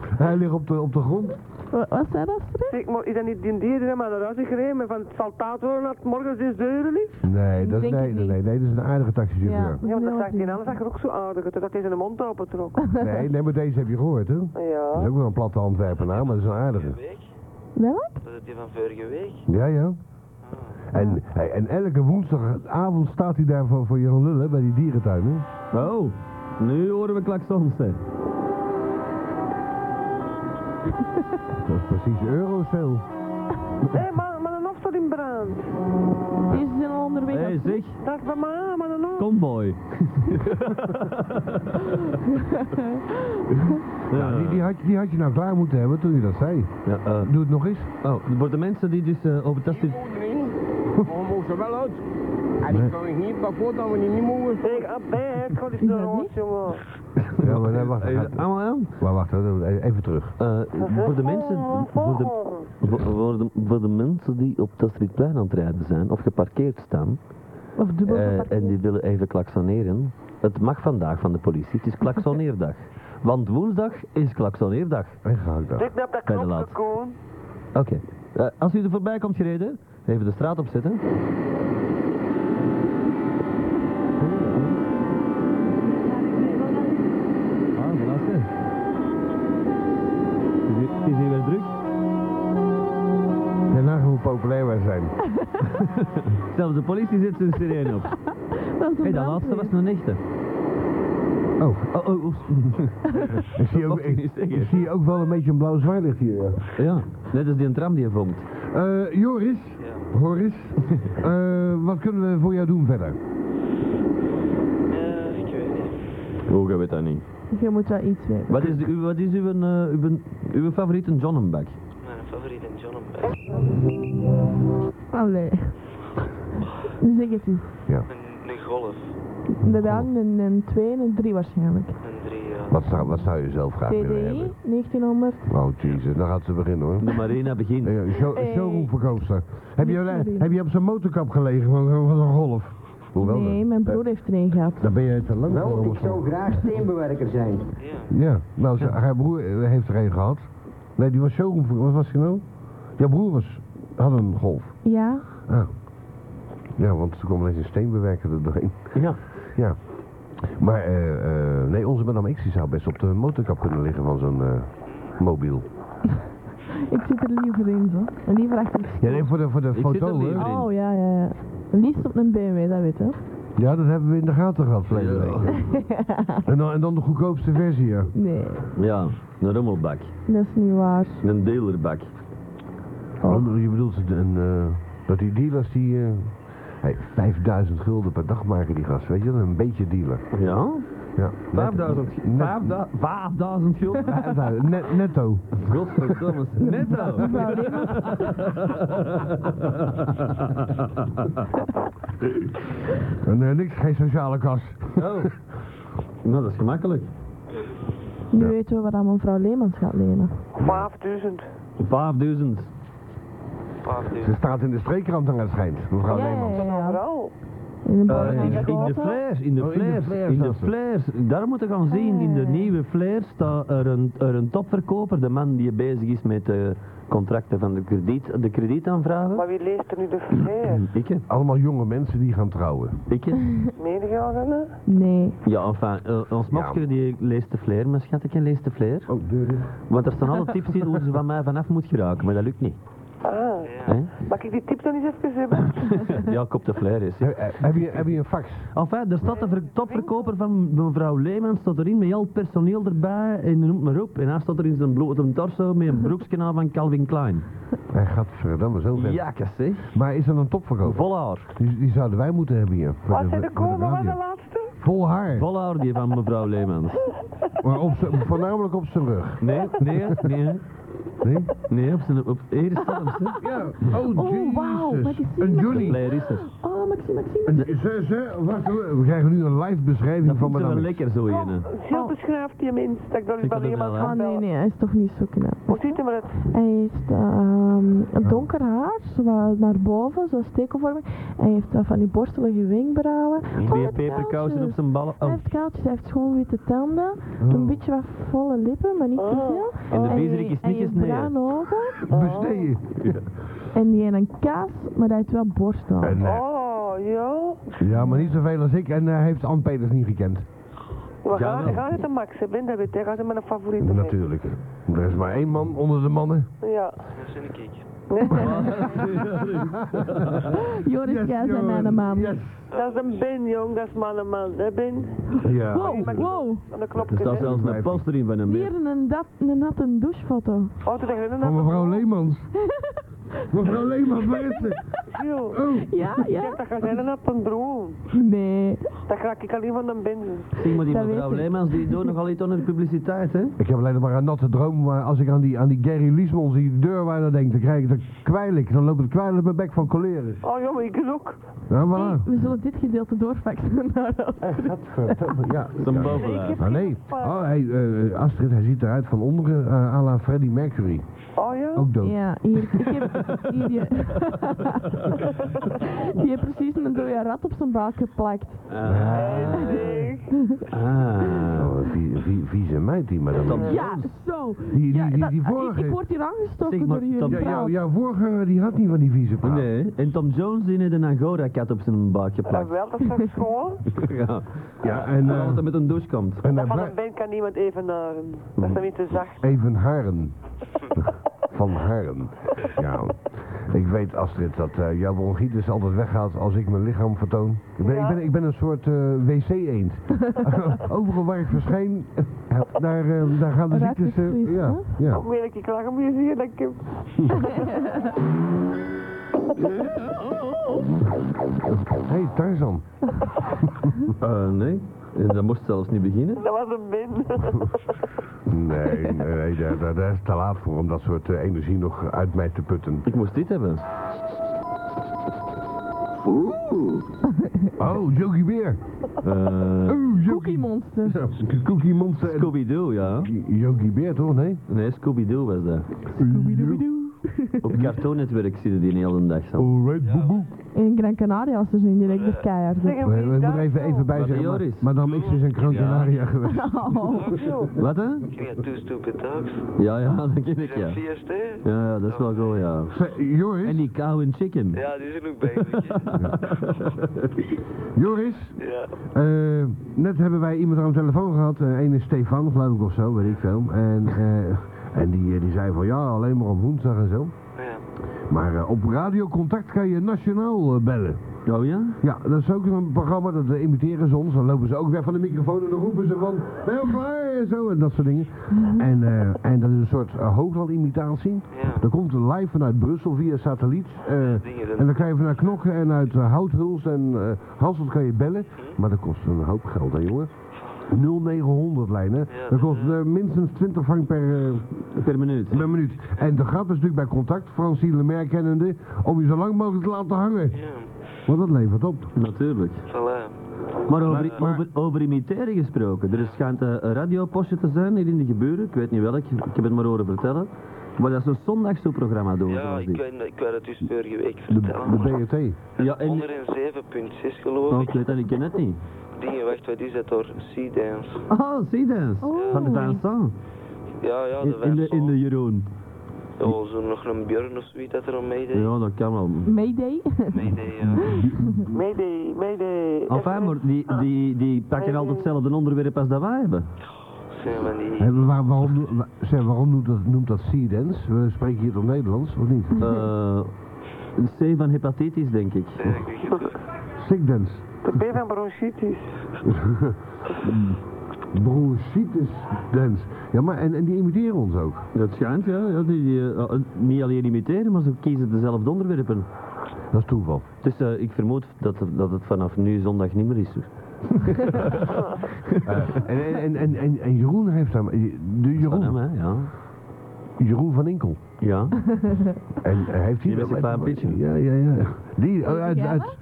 Speaker 1: Hij ligt op de, op de grond.
Speaker 2: Wa- Wat zei dat, Astrid?
Speaker 5: Ik moet is dat niet die dier die maar naar huis is gereden, maar van het saltaat worden dat het morgen 6 uur is?
Speaker 1: Nee, dat is,
Speaker 2: Denk
Speaker 1: nee,
Speaker 2: ik
Speaker 1: nee,
Speaker 2: niet.
Speaker 1: nee, nee, dat is een aardige taxichauffeur.
Speaker 5: Ja, want dat zag
Speaker 2: dat
Speaker 5: ik die anders zag er ook zo aardig uit, dat hij zijn mond open trok.
Speaker 1: Nee, nee, maar deze heb je gehoord, hè? Dat is
Speaker 5: Ja.
Speaker 1: ook wel een platte handwerpenaar, maar dat is een aardige.
Speaker 7: Vorige week?
Speaker 2: Welk?
Speaker 7: Was het die van vorige week?
Speaker 1: Ja, ja. En, hey, en elke woensdagavond staat hij daar voor, voor je lullen bij die dierentuin, hè?
Speaker 3: Oh, nu horen we klaksons, hè?
Speaker 1: Dat is precies eurocel.
Speaker 5: Hé, maar, maar een hof staat in brand.
Speaker 2: Die zijn al onderweg.
Speaker 3: Hé, hey, zeg,
Speaker 5: Dat is bij mij, maar een hof.
Speaker 3: convoy.
Speaker 1: Nou, die, die, had, die had je nou klaar moeten hebben toen je dat zei.
Speaker 3: Ja, eh,
Speaker 1: Doe het nog eens.
Speaker 3: oh, voor de mensen die dus eh, over Tastrid...
Speaker 5: Ik ah, ben, ik ga die zo rood, jongen.
Speaker 1: Ja, maar nee, wacht.
Speaker 3: Even-
Speaker 1: Gaat,
Speaker 3: Allemaal aan?
Speaker 1: maar wacht, hè, even terug.
Speaker 3: Eh, voor de mensen...
Speaker 5: Oh,
Speaker 3: Voor de, voor, voor de, voor de mensen die op Tastridplein aan het rijden zijn, of geparkeerd staan,
Speaker 2: Of dubbel
Speaker 3: eh,
Speaker 2: gepakt.
Speaker 3: en die willen even klaksoneren, het mag vandaag van de politie, het is klaksoneerdag. Want woensdag is klaksoneerdag.
Speaker 1: Weggehaakt daar.
Speaker 5: Druk nou op dat
Speaker 3: Bij de laat.
Speaker 5: knopje, Koen.
Speaker 3: Oké. Eh, als u er voorbij komt gereden, even de straat opzetten. Ah, voilà, zeg. Is hier- Is hier weer druk?
Speaker 1: En hoe populair wij zijn.
Speaker 3: Zelfs de politie zet zijn sirene op.
Speaker 2: Dat is een
Speaker 3: Hé, dat laatste was
Speaker 2: brandweer.
Speaker 3: een echte.
Speaker 1: Oh.
Speaker 3: Oh, oh, oeps.
Speaker 1: Ik zie, ook,
Speaker 3: mag je
Speaker 1: ik,
Speaker 3: niet zeggen.
Speaker 1: ik zie ook wel een beetje een blauw zwaailicht hier. Ja.
Speaker 3: ja, net als die een tram die je vond.
Speaker 1: Eh, Joris,
Speaker 7: Ja.
Speaker 1: Horis, eh, wat kunnen we voor jou doen verder?
Speaker 7: Eh, ik weet niet.
Speaker 3: Oh, je weet dat niet.
Speaker 2: Je moet wel iets weten.
Speaker 3: Wat is, uw, wat is uw, eh, uw, uw favoriete John
Speaker 7: Mijn favoriete John Buck.
Speaker 2: Allee. Zeg het eens.
Speaker 7: Een, een golf.
Speaker 2: Inderdaad, een, een 2 en een 3 waarschijnlijk.
Speaker 1: Ah,
Speaker 7: Een drie, ja.
Speaker 1: Wat zou, wat zou je zelf graag willen
Speaker 2: TDI
Speaker 1: hebben?
Speaker 2: 1900.
Speaker 1: Oh, jezus, dan gaat ze beginnen hoor.
Speaker 3: De Marina begint.
Speaker 1: Ja, show,
Speaker 2: Hey.
Speaker 1: showroomverkoopster. Heb je,
Speaker 2: Niet doen.
Speaker 1: heb je op zijn motorkap gelegen van, van een golf? Hoewel,
Speaker 2: Nee,
Speaker 1: dan- Eh.
Speaker 2: mijn broer heeft er een gehad.
Speaker 1: dan ben je te lang voor,
Speaker 10: Wel, ik
Speaker 1: jongens.
Speaker 10: zou graag steenbewerker zijn.
Speaker 7: Ja.
Speaker 1: Ja, nou, ze- haar broer eh, heeft er een gehad. Nee, die was showroom. Wat was hij nou? Jouw broer was, had een golf. Ah.
Speaker 2: Ja?
Speaker 1: Ja, want er kwam ineens een steenbewerker er doorheen.
Speaker 3: Ja.
Speaker 1: Ja. Maar, eh, eh, nee, onze madame X die zou best op de motorkap kunnen liggen van zo'n eh, mobiel.
Speaker 2: Ik zit er liever in, zo. En liever achter
Speaker 1: Ja, nee, voor de, voor de
Speaker 3: zit er
Speaker 1: foto, hè?
Speaker 3: liever in.
Speaker 2: Oh, ja, ja, ja. Liefst op een BMW, dat weet je.
Speaker 1: Ja, dat hebben we in de gaten gehad verleden
Speaker 3: Ja.
Speaker 1: week. En dan, en dan de goedkoopste versie, ja.
Speaker 2: Nee,
Speaker 3: Ja, een rommelbak.
Speaker 2: dat is niet waar.
Speaker 3: Een dealerbak.
Speaker 1: Oh, Je bedoelt het- een, eh, dat die dealers die... eh, hey, 5000 gulden per dag maken die gast, weet je wel? Een beetje dealer.
Speaker 3: Ja?
Speaker 1: Ja, net-
Speaker 3: 5000.
Speaker 1: net-
Speaker 3: 5000 gulden.
Speaker 1: 5000, net- netto.
Speaker 3: Godverdomme. Netto.
Speaker 2: Mevrouw Remers,
Speaker 1: En eh, niks, geen sociale kas.
Speaker 3: Oh. Nou, dat is gemakkelijk.
Speaker 2: nu weten we wat aan mevrouw Leemans gaat lenen.
Speaker 5: 12.000.
Speaker 3: 5000.
Speaker 1: Ze staat in de streekkrant aan het schijnt, mevrouw
Speaker 2: ja, ja,
Speaker 1: Leemans.
Speaker 2: ja, ja.
Speaker 5: Vooral.
Speaker 2: In een
Speaker 3: Eh, in, de, in de
Speaker 2: bovenbouw.
Speaker 3: flares, in de
Speaker 1: Oh, in de
Speaker 3: flares,
Speaker 1: flares
Speaker 3: in de
Speaker 1: zelfs.
Speaker 3: flares. Daar moeten we gaan zien, in de
Speaker 2: Ah.
Speaker 3: nieuwe flares staat er een, er een topverkoper, de man die bezig is met de contracten van de, krediet, de kredietaanvragen.
Speaker 5: Maar wie leest er nu de verkeer?
Speaker 3: Ikke,
Speaker 1: Allemaal jonge mensen die gaan trouwen.
Speaker 3: ikke.
Speaker 5: Meen je al dan?
Speaker 2: Nee.
Speaker 3: Ja, enfin, eh, ons mopje die leest de flair, mijn schatje leest de flair.
Speaker 1: Oh, deur is.
Speaker 3: Want er staan alle tips in hoe ze van mij vanaf moet geraken, maar dat lukt niet.
Speaker 5: Ah,
Speaker 3: Hè?
Speaker 5: mag ik die tips dan eens even hebben?
Speaker 3: Ja, kop de flair is.
Speaker 1: eh, Heb je, heb je een fax?
Speaker 3: Enfin, er staat de ver- topverkoper van mevrouw Leemans staat erin met al het personeel erbij en noemt maar op. En hij staat er in zijn blote torso met een broekskanaal van Calvin Klein.
Speaker 1: Hij gaat verdamme zo ver.
Speaker 3: Jakkes, hè?
Speaker 1: Maar is dat een topverkoop?
Speaker 3: Vol haar.
Speaker 1: Die, die zouden wij moeten hebben hier. voor
Speaker 5: Was
Speaker 1: de-
Speaker 5: hij de
Speaker 1: voor de
Speaker 5: komen? Was de
Speaker 1: radio.
Speaker 5: laatste?
Speaker 1: Vol haar.
Speaker 3: Vol haar die van mevrouw Leemans.
Speaker 1: Maar op z'n- voornamelijk op zijn rug.
Speaker 3: Nee, nee, nee.
Speaker 1: Nee?
Speaker 3: Nee, op zijn... Op, hier staat hem, ze.
Speaker 1: Ja. Oh,
Speaker 2: Oh, wauw,
Speaker 1: Jesus.
Speaker 2: maar die zien
Speaker 1: Een
Speaker 2: we-
Speaker 3: De
Speaker 1: Johnny.
Speaker 3: flair is er.
Speaker 2: Oh, Maxime, Maxime.
Speaker 1: Een- ze- ze- wacht, hoor, we krijgen nu een live beschrijving
Speaker 3: Dat
Speaker 1: van
Speaker 3: vond ze wel
Speaker 1: madame.
Speaker 3: lekker, zo in.
Speaker 5: Heel beschrijft die mens. Dat ik dan eens
Speaker 3: Ik
Speaker 5: bij
Speaker 3: wil
Speaker 5: iemand
Speaker 3: hem
Speaker 5: ga
Speaker 2: Oh. Ah, nee,
Speaker 5: bellen.
Speaker 2: nee, hij is toch niet zo knap.
Speaker 5: Hoe ziet hij eruit?
Speaker 2: Hij heeft ehm, een donker haar, zo wat naar boven, zo stekelvormig. Hij heeft eh, van die borstelige wenkbrauwen. Oh,
Speaker 3: Twee
Speaker 2: wat
Speaker 3: peperkousen
Speaker 2: kaaltjes.
Speaker 3: op zijn ballen.
Speaker 2: Hij
Speaker 3: Oh.
Speaker 2: heeft kaaltjes, hij heeft gewoon witte tanden, een beetje wat volle lippen, maar niet te veel.
Speaker 3: En de
Speaker 2: Hij-
Speaker 3: viezerik is
Speaker 2: hij
Speaker 3: niet
Speaker 2: heeft
Speaker 3: gesneden.
Speaker 2: bruine ogen
Speaker 1: Besteden.
Speaker 2: Oh. en die en een kaas, maar hij heeft wel borsten.
Speaker 1: En, eh,
Speaker 5: Oh, ja.
Speaker 1: ja, maar niet zoveel als ik. En eh, hij heeft Ann Peters niet gekend.
Speaker 5: We gaan,
Speaker 3: wel.
Speaker 5: we gaan het een Max hebben, dat weet je. Gaat hij met een favoriete mee.
Speaker 1: Natuurlijk. Er is maar één man onder de mannen.
Speaker 5: Ja.
Speaker 7: Dat is een kiek.
Speaker 2: Joris, jij bent mijn man.
Speaker 1: Yes.
Speaker 5: Dat is een Ben, jong. Dat is mannenman. Dat Ben.
Speaker 1: Ja.
Speaker 2: Wow, wow.
Speaker 5: Aan de
Speaker 3: Er
Speaker 5: knopje.
Speaker 3: staat
Speaker 5: hè.
Speaker 3: zelfs een poster in van hem. hè.
Speaker 2: Hier een, dat, een natte douchefoto.
Speaker 5: Oh, toen dacht ik,
Speaker 1: Van
Speaker 5: nou,
Speaker 1: mevrouw Leemans. mevrouw Leemans, waar is ze?
Speaker 5: joh.
Speaker 1: Oh.
Speaker 2: Ja, ja.
Speaker 5: Dat gaat zijn een op een broer.
Speaker 2: Nee.
Speaker 5: Dat ga ik alleen van een Ben.
Speaker 3: Zie maar die
Speaker 2: Dat
Speaker 3: mevrouw
Speaker 2: weet ik.
Speaker 3: Leemans, die doet nogal iets onder de publiciteit, hè?
Speaker 1: Ik heb alleen maar een natte droom, maar als ik aan die, aan die Gary Liesmans die deurwaarder denk, dan krijg ik dan kwijl ik. Dan loopt het kwijl uit mijn bek van coleren.
Speaker 5: Oh, joh, maar ik doe ook.
Speaker 1: Ja,
Speaker 3: Ah.
Speaker 2: Hey,
Speaker 1: voilà.
Speaker 2: we zullen dit gedeelte doorfaxen naar ons.
Speaker 1: Gadverdamme, ja.
Speaker 3: Zijn
Speaker 1: Ja.
Speaker 3: bovenlijf.
Speaker 1: Ah, nee. Oh, hey, eh, Astrid, hij ziet eruit van onderen eh à la Freddie Mercury.
Speaker 5: Oh, ja.
Speaker 1: Ook dood.
Speaker 2: Ja, hier. Ik heb hier je. Je hebt precies een dode rat op zijn buik geplakt.
Speaker 5: Eh,
Speaker 3: Ah.
Speaker 5: Zeg.
Speaker 3: Ah.
Speaker 1: Oh, vie, vie, vieze meid die maar dan.
Speaker 2: Ja, zo.
Speaker 1: Die,
Speaker 2: Ja,
Speaker 1: die, die,
Speaker 2: dat-
Speaker 1: die
Speaker 2: ik, ik
Speaker 1: vorige.
Speaker 2: word hier
Speaker 3: Zeg
Speaker 2: aangestoken
Speaker 3: maar,
Speaker 2: door jullie
Speaker 3: dat-
Speaker 1: Ja, jouw,
Speaker 2: praat.
Speaker 1: jouw voorganger die had niet van die vieze praat.
Speaker 3: Nee, en Tom Jones die heeft een Angora-kat op zijn buik
Speaker 5: Ah,
Speaker 3: geplakt.
Speaker 5: wel, dat is toch schoon?
Speaker 3: Ja,
Speaker 1: Ja, en, eh,
Speaker 3: dat hij met een douche komt.
Speaker 1: en hij
Speaker 5: Dat van een
Speaker 1: blij-
Speaker 5: Ben kan niemand evenaren. Dat is dan niet te zacht.
Speaker 1: even haren. van haren. Ja. Ik weet, Astrid, dat eh, jouw bronchitis altijd weggaat als ik mijn lichaam vertoon. Ik ben,
Speaker 5: Ja.
Speaker 1: ik ben, ik ben een soort eh, wc-eend. Overal waar ik verschijn, daar, eh, daar gaan de
Speaker 2: Raakt
Speaker 1: ziektes... eh,
Speaker 2: het vlies,
Speaker 1: ja, ja.
Speaker 5: Hoe meer ik je klaar om je zie, dat ik heb...
Speaker 1: Hé, hey, Tarzan.
Speaker 3: Eh, nee, En dat moest zelfs niet beginnen.
Speaker 5: Dat was een Ben.
Speaker 1: Nee, nee, nee, daar, daar, daar is het te laat voor om dat soort eh, energie nog uit mij te putten.
Speaker 3: Ik moest dit hebben.
Speaker 1: Oeh. Oh, Jokie Beer. Oeh, Jokie
Speaker 2: Monster.
Speaker 1: Cookie Monster. en-
Speaker 3: Eh, Scooby-Doo, ja.
Speaker 1: Jokie Beer toch, nee?
Speaker 3: Nee, Scooby-Doo was dat. Op cartoonnetwerk zitten die een hele dag zo.
Speaker 1: Alright, boe boe.
Speaker 2: In Gran Canaria was er zo direct de keihard.
Speaker 5: Zeg, en
Speaker 1: We
Speaker 5: wie is
Speaker 1: moeten
Speaker 5: daar
Speaker 1: er even,
Speaker 5: zo?
Speaker 1: even bij
Speaker 3: Wat
Speaker 1: zeggen,
Speaker 3: Joris?
Speaker 1: maar- Madame X is een Gran Canaria geweest.
Speaker 2: Oh.
Speaker 3: Wat, hè?
Speaker 7: You had two stupid dogs.
Speaker 3: Ja, ja, dat ken ik,
Speaker 7: Zijn
Speaker 3: ja.
Speaker 7: vier sterren?
Speaker 3: Ja, ja, dat is wel goed, ja.
Speaker 1: Zeg, Eh, Joris?
Speaker 3: En die cow en chicken.
Speaker 7: Ja, die zijn ook bezig.
Speaker 1: Joris?
Speaker 7: ja.
Speaker 1: Eh, net hebben wij iemand aan de telefoon gehad. eh een is Stefan, geloof ik, of zo, weet ik veel. En, eh, en die, eh, die zei van ja, alleen maar op woensdag en zo.
Speaker 7: ja.
Speaker 1: Maar eh, op radiocontact kan je nationaal eh, bellen.
Speaker 3: Oh ja?
Speaker 1: Ja, dat is ook een programma, dat eh, imiteren ze ons. Dan lopen ze ook weg van de microfoon en dan roepen ze van... Ben je al klaar? En zo, en dat soort dingen. En, eh, en dat is een soort eh, hooglandimitatie.
Speaker 7: Ja.
Speaker 1: Dat komt live vanuit Brussel via satelliet. eh,
Speaker 7: Dingen, dat-
Speaker 1: en dan kan je vanuit Knokken en uit eh, Houthuls en eh Hasselt kan je bellen.
Speaker 7: Mhm.
Speaker 1: Maar dat kost een hoop geld, hè, jongen. 0900 lijn, hè.
Speaker 7: Ja,
Speaker 1: Dat
Speaker 7: dat,
Speaker 1: kost
Speaker 7: eh,
Speaker 1: eh, minstens 20 frank per, eh,
Speaker 3: Per minuut.
Speaker 1: per minuut. En de grap is natuurlijk bij contact, Francine Lemaire kennende, om je zo lang mogelijk te laten hangen.
Speaker 7: ja,
Speaker 1: Want dat levert op.
Speaker 3: Natuurlijk.
Speaker 7: voilà.
Speaker 3: Maar over, over, over imiteren gesproken. Er is- schijnt eh, een radiopostje te zijn hier in de geburen. Ik weet niet welk, ik heb het maar horen vertellen. Maar dat is een zondagszoekprogramma doen.
Speaker 7: Ja,
Speaker 3: zoals
Speaker 7: ik
Speaker 3: dit.
Speaker 7: weet, ik weet het dus vorige week
Speaker 1: De,
Speaker 7: vertellen.
Speaker 1: de
Speaker 7: maar
Speaker 1: BRT.
Speaker 3: Ja, en...
Speaker 7: 107.6 geloof
Speaker 3: Oh,
Speaker 7: ik.
Speaker 3: ik weet dat, ik ken het niet.
Speaker 7: Dingen, wacht, wat is dat door? Sea Dance.
Speaker 3: Oh, zie dat. Van de Vincent.
Speaker 7: Ja, ja, de
Speaker 3: In, in de, in de Jeroen.
Speaker 7: Oh, zo nog een Björn of zoiets dat er om meedeed.
Speaker 3: Ja, dat kan wel.
Speaker 2: Mayday.
Speaker 7: Meedeed, ja.
Speaker 5: Mayday, mayday.
Speaker 3: Enfin, maar die, die, die pakken altijd hetzelfde onderwerp als dat wij hebben.
Speaker 7: Zijn van die...
Speaker 1: Hey, maar waar- waarom doe- wa- zeg, waarom noemt dat, noemt dat sea dance? We spreken hier toch Nederlands, of niet?
Speaker 3: Eh, een C van hepatitis, denk ik.
Speaker 7: Ja, ik weet het.
Speaker 1: Sick dance.
Speaker 5: De B van bronchitis.
Speaker 1: Bronchitis dance. Ja, maar en, en die imiteren ons ook.
Speaker 3: Dat schijnt, ja. ja die, die, eh, niet alleen imiteren, maar ze kiezen dezelfde onderwerpen.
Speaker 1: Dat is toeval.
Speaker 3: Dus eh, ik vermoed dat, er- dat het vanaf nu zondag niet meer is. dus. hoor.
Speaker 1: En, en, en, en, en, en Jeroen heeft daar... De
Speaker 3: Van hem,
Speaker 1: Jeroen,
Speaker 3: hè? Ja.
Speaker 1: Jeroen van Inkel.
Speaker 3: Ja.
Speaker 1: En eh, heeft hij
Speaker 3: Die met zijn klein pitje.
Speaker 1: Ja, ja, ja. Die, eh, uit, uit,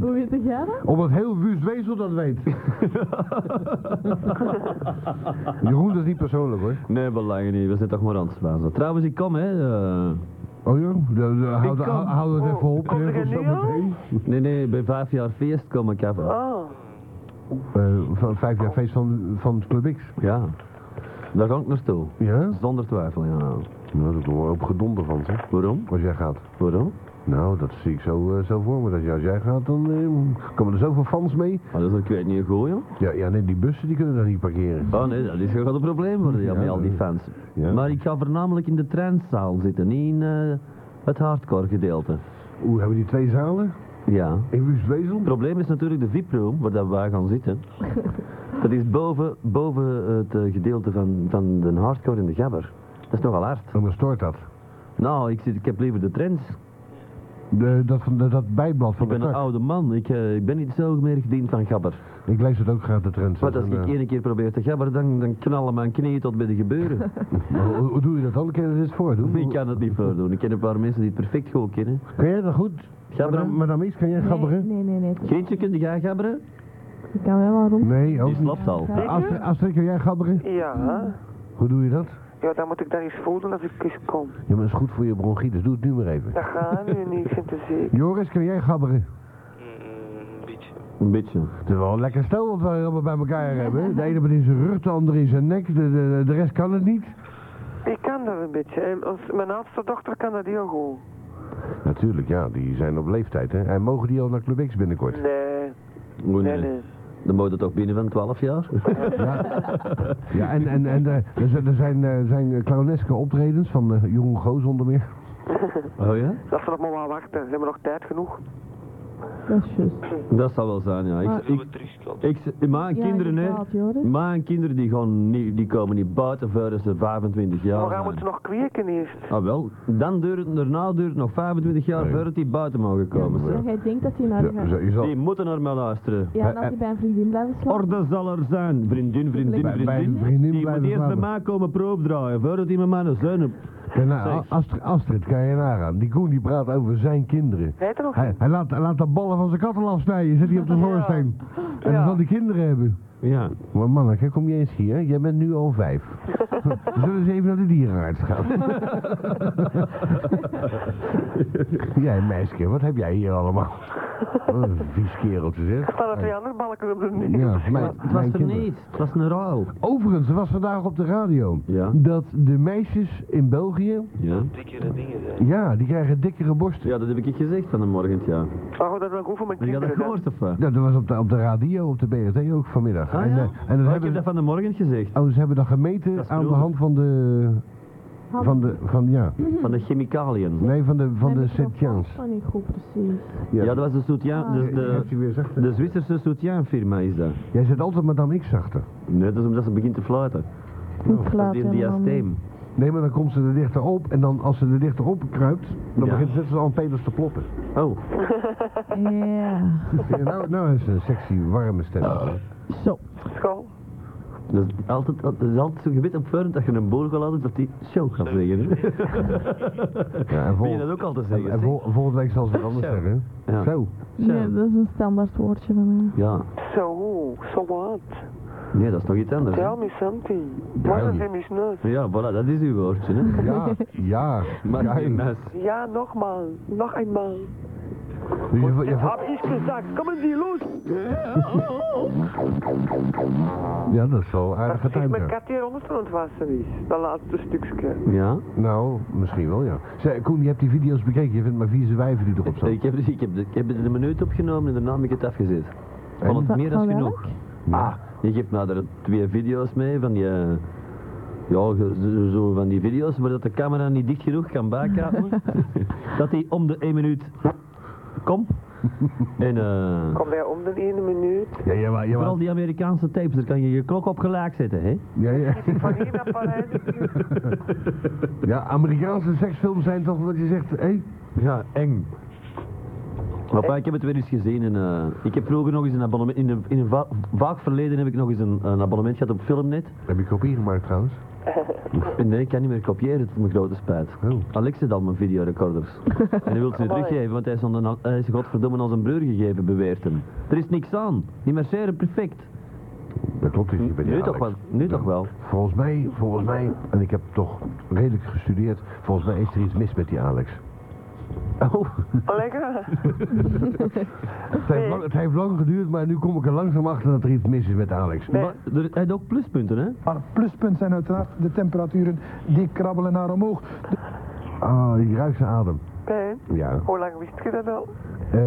Speaker 2: Hoe weet jij dat?
Speaker 1: omdat heel Wust Wezel dat weet. Jeroen, dat is niet persoonlijk hoor.
Speaker 3: Nee, belangen niet. We zijn toch maar aan het sparen. Trouwens, ik kom, hè. eh.
Speaker 1: Oh ja, de- de- hou de- hou- hou het even op.
Speaker 5: Oh, Komt er
Speaker 1: eh,
Speaker 5: een
Speaker 1: zo
Speaker 5: nieuwe?
Speaker 1: meteen.
Speaker 3: Nee, nee, bij vijf jaar feest kom ik even.
Speaker 5: Oh,
Speaker 1: Eh, van vijf jaar feest van, van Club X.
Speaker 3: Ja. Daar ga ik naartoe.
Speaker 1: Ja?
Speaker 3: Zonder twijfel, ja.
Speaker 1: Nou, dat wordt op gedonder van, zeg.
Speaker 3: Waarom?
Speaker 1: Als jij gaat.
Speaker 3: Waarom?
Speaker 1: Nou, dat zie ik zo, eh, zo voor me. Dat je- als jij gaat, dan eh, komen er zoveel fans mee.
Speaker 3: Maar Ah, dat is ook, ik weet niet goed, joh.
Speaker 1: Ja, ja, nee, die bussen die kunnen daar niet parkeren.
Speaker 3: Oh nee, dat is gewoon een probleem worden, ja,
Speaker 1: Ja,
Speaker 3: met al die
Speaker 1: dat-
Speaker 3: fans.
Speaker 1: ja.
Speaker 3: Maar ik ga voornamelijk in de trendzaal zitten, niet in eh, het hardcore gedeelte.
Speaker 1: Hoe hebben die twee zalen?
Speaker 3: Ja.
Speaker 1: In Wustwezel?
Speaker 3: Het probleem is natuurlijk de VIP-room, waar dat wij gaan zitten. Dat is boven, boven het eh, gedeelte van, van de hardcore in de gabber. Dat is nogal hard.
Speaker 1: En dan Oh, stoort dat.
Speaker 3: Nou, ik, zit, ik heb liever de trends.
Speaker 1: De, dat, van, de- dat bijblad
Speaker 3: Ik
Speaker 1: van de
Speaker 3: ben een
Speaker 1: krak.
Speaker 3: oude man, ik, eh, ik ben niet zo meer gediend van gabber.
Speaker 1: Ik lees het ook graag, de trends.
Speaker 3: Want als
Speaker 1: En,
Speaker 3: ik
Speaker 1: eh,
Speaker 3: één keer probeer te gabberen, dan, dan knallen mijn knieën tot bij de gebeuren.
Speaker 1: hoe, hoe doe je dat dan? Kun je dat eens voordoen?
Speaker 3: ik kan het niet voordoen. Ik ken een paar mensen die het perfect goed kennen.
Speaker 1: Kun jij dat goed?
Speaker 3: Gabberen?
Speaker 1: Madame- Madame X, kan jij gabberen?
Speaker 2: Nee, nee, nee. nee.
Speaker 3: Grietje, kun jij gabberen?
Speaker 2: Ik kan wel rond.
Speaker 1: Nee, ook
Speaker 3: Die
Speaker 1: niet.
Speaker 3: slapt al.
Speaker 2: Ja.
Speaker 1: Astrid, Astrid, kan jij gabberen?
Speaker 5: ja.
Speaker 1: Hoe doe je dat?
Speaker 5: Ja, dan moet ik daar eens voelen als ik eens kom.
Speaker 1: Ja, maar dat is goed voor je bronchitis. Doe het nu maar even.
Speaker 5: Dat gaat nu niet, ik vind te zeker.
Speaker 1: Joris, kan jij gabberen?
Speaker 7: Mm, een beetje.
Speaker 3: Een beetje.
Speaker 1: Het is wel een lekker stel wat we hier allemaal bij elkaar hebben. hè. De ene met in zijn rug, de andere in zijn nek. De, de, de rest kan het niet.
Speaker 5: Ik kan dat een beetje. En ons, mijn oudste dochter kan dat heel goed.
Speaker 1: Natuurlijk, ja. Die zijn op leeftijd, hè. En mogen die al naar Club X binnenkort?
Speaker 5: Nee,
Speaker 3: Moet
Speaker 5: nee,
Speaker 3: niet.
Speaker 5: nee.
Speaker 3: Dan moet het toch binnen van 12 jaar?
Speaker 1: Ja, en, en, en eh, er zijn, er zijn, eh, zijn eh, clowneske optredens van eh, Jeroen Goos onder meer.
Speaker 3: Oh ja?
Speaker 5: Dat ze nog maar wel wachten. Ze hebben nog tijd genoeg.
Speaker 2: Dat is juist.
Speaker 3: Dat zal wel zijn, ja. Ik,
Speaker 7: Zullen
Speaker 3: ik,
Speaker 7: we terugkomen?
Speaker 3: ik, mijn
Speaker 2: Ja,
Speaker 3: kinderen, hè.
Speaker 2: inderdaad, Joris.
Speaker 3: Mijn kinderen die, gaan niet, die komen niet buiten voordat ze 25 jaar
Speaker 5: maar gaan moeten
Speaker 3: zijn.
Speaker 5: ze nog kweken eerst.
Speaker 3: Ah wel, dan duurt het, daarna duurt het nog 25 jaar
Speaker 1: Nee.
Speaker 3: voordat die buiten mogen komen.
Speaker 2: Ja, dus jij denkt dat hij naar
Speaker 1: Ja, eh,
Speaker 2: de gaat.
Speaker 1: zo- je zal-
Speaker 3: Die moeten naar mij luisteren.
Speaker 2: Ja, en als hij bij een vriendin blijft slapen.
Speaker 3: Orde zal er zijn, vriendin, vriendin,
Speaker 2: Bij-
Speaker 1: bij
Speaker 3: vriendin.
Speaker 1: een vriendin
Speaker 3: die moet
Speaker 1: blijven
Speaker 3: eerst bij
Speaker 1: slapen.
Speaker 3: mij komen proopdraaien, voordat die met mij een zuin op-
Speaker 1: En nou, Astrid, Astrid, kan je nagaan. Die Koen die praat over zijn kinderen.
Speaker 5: Weet er nog
Speaker 1: Hij, hij laat, hij laat de ballen van zijn katten afsnijden. Zit hij op de voorsteen. En dan zal die kinderen hebben.
Speaker 3: Ja.
Speaker 1: Maar manneke, kom je eens hier. Jij bent nu al vijf. We zullen eens even naar de dierenarts gaan. jij meisje, wat heb jij hier allemaal? Wat een vies kereltje zeg.
Speaker 5: Staan er twee andere balken op de neus.
Speaker 1: Ja, mijn,
Speaker 3: Het was
Speaker 1: mijn
Speaker 3: er
Speaker 1: kinderen.
Speaker 3: niet. Het was een rouw.
Speaker 1: Overigens, er was vandaag op de radio
Speaker 3: Ja.
Speaker 1: dat de meisjes in België,
Speaker 3: Ja.
Speaker 7: Dikkere dingen zijn.
Speaker 1: ja, die krijgen dikkere borsten.
Speaker 3: Ja, dat heb ik je gezegd vanmorgen, ja.
Speaker 5: Maar goed, dat wil ik hoeven met
Speaker 3: Heb je dat
Speaker 5: kinderen. dan.
Speaker 3: gehoord of wat?
Speaker 1: Ja, dat was op de, op de radio, op de BRT ook vanmiddag.
Speaker 3: Ah,
Speaker 1: en,
Speaker 3: ja?
Speaker 1: eh, en dat
Speaker 3: Oh, ik
Speaker 1: hebben,
Speaker 3: heb dat vanmorgen gezegd.
Speaker 1: oh, ze hebben dat gemeten
Speaker 3: Dat is
Speaker 1: aan de
Speaker 3: bedoeld.
Speaker 1: hand van de, van de, van, ja,
Speaker 2: Mhm.
Speaker 3: Van de chemicaliën.
Speaker 1: nee, van de, van
Speaker 2: Nee,
Speaker 1: de
Speaker 2: maar dat
Speaker 1: Sint-Jans.
Speaker 2: valt dan niet goed, precies.
Speaker 3: Ja, Ah, dat was de soutien, Dus de, de,
Speaker 1: je weer zachter.
Speaker 3: de Zwitserse soutienfirma is dat.
Speaker 1: Jij zit altijd Madame X zachter.
Speaker 3: Nee, dat is omdat ze begint te fluiten.
Speaker 2: Niet
Speaker 3: Dat
Speaker 2: klaar
Speaker 3: is die diasteem.
Speaker 1: Nee, maar dan komt ze er dichter op en dan als ze er dichter op kruipt, dan
Speaker 3: Ja.
Speaker 1: begint ze net als aan Peters te ploppen.
Speaker 3: Oh,
Speaker 2: Ja.
Speaker 1: Ja, nou, nou is ze een sexy, warme stem.
Speaker 2: Zo.
Speaker 5: School.
Speaker 3: dat is altijd, dat is altijd zo gewit opvullend dat je een boer gaat laten dat die show gaat zeggen. hè?
Speaker 1: Ja, en
Speaker 3: Wil je
Speaker 1: vol,
Speaker 3: dat ook altijd
Speaker 1: en,
Speaker 3: zeggen?
Speaker 1: en vol- volgende week zal ze het anders
Speaker 3: Zo.
Speaker 1: zeggen.
Speaker 3: Ja.
Speaker 1: Zo.
Speaker 3: zeg?
Speaker 2: Nee, dat is een standaard woordje van mij.
Speaker 3: Ja,
Speaker 5: Zo, zo wat.
Speaker 3: nee, dat is nog iets anders. hè?
Speaker 5: Tell me something.
Speaker 1: Duil.
Speaker 5: Maar dat is neus.
Speaker 3: Ja, voilà, dat is uw woordje, hè.
Speaker 1: Ja, ja.
Speaker 3: Maar
Speaker 1: ja,
Speaker 3: geen mes.
Speaker 5: Ja, nogmaal. Nog eenmaal.
Speaker 1: Dus je, je,
Speaker 5: Hab ich gesagt. Kommen Sie los.
Speaker 1: ja, dat is wel aardig
Speaker 5: Dat precies
Speaker 1: getimed.
Speaker 5: mijn
Speaker 1: ja.
Speaker 5: kat hier onder aan het wassen is. Dat laatste stukje.
Speaker 3: Ja,
Speaker 1: Nou, misschien wel, ja. Zeg, Koen, je hebt die video's bekeken. Je vindt maar vieze wijven die erop staan.
Speaker 3: ik heb, ik, heb, ik heb er een minuut opgenomen en daarna heb ik het afgezet. Ik
Speaker 1: En?
Speaker 3: vond het meer dan
Speaker 2: Van welk?
Speaker 3: genoeg. Ah, je geeft mij er twee video's mee van die... eh, Ja, ge- zo- zo van die video's waar dat de camera niet dicht genoeg kan bijkapen. dat die om de één minuut... Kom. En eh...
Speaker 5: Kom daar om de ene minuut.
Speaker 1: Ja, ja, maar, ja, maar-
Speaker 3: Ah. Vooral die Amerikaanse tapes, daar kan je je klok op gelijk zetten, hè?
Speaker 1: ja, ja.
Speaker 5: Zit ik van hier naar Parijs.
Speaker 1: ja, Amerikaanse seksfilms zijn toch wat je zegt, hé?
Speaker 3: Ja, eng. Maar pa, ik heb het weer eens gezien en eh, ik heb vroeger nog eens een abonnement, in een, in een va- vaak verleden heb ik nog eens een, een abonnement gehad op Filmnet.
Speaker 1: Heb je kopie gemaakt trouwens?
Speaker 3: En nee, ik kan niet meer kopiëren, het is mijn grote spijt.
Speaker 1: Oh.
Speaker 3: Alex zit al mijn videorecorders. en hij wil ze nu
Speaker 5: Amai.
Speaker 3: teruggeven, want hij is, onder, hij is godverdomme als een breur gegeven, beweert hem. Er is niks aan, die marcheren perfect.
Speaker 1: Dat klopt, dus je bent
Speaker 3: Nu
Speaker 1: niet
Speaker 3: toch wel,
Speaker 1: Alex.
Speaker 3: nu toch wel.
Speaker 1: Volgens mij, volgens mij, en ik heb toch redelijk gestudeerd, volgens mij is er iets mis met die Alex.
Speaker 3: Oh,
Speaker 5: Lekker.
Speaker 1: Het heeft, lang, het heeft lang geduurd, maar nu kom ik er langzaam achter dat er iets mis is met Alex.
Speaker 3: maar er, hij had ook pluspunten, hè?
Speaker 6: Maar pluspunt zijn uiteraard de temperaturen die krabbelen naar omhoog.
Speaker 1: Ah, je ruikt zijn adem.
Speaker 5: Pijn.
Speaker 1: Ja.
Speaker 5: Hoe lang wist je dat al?
Speaker 1: Eh,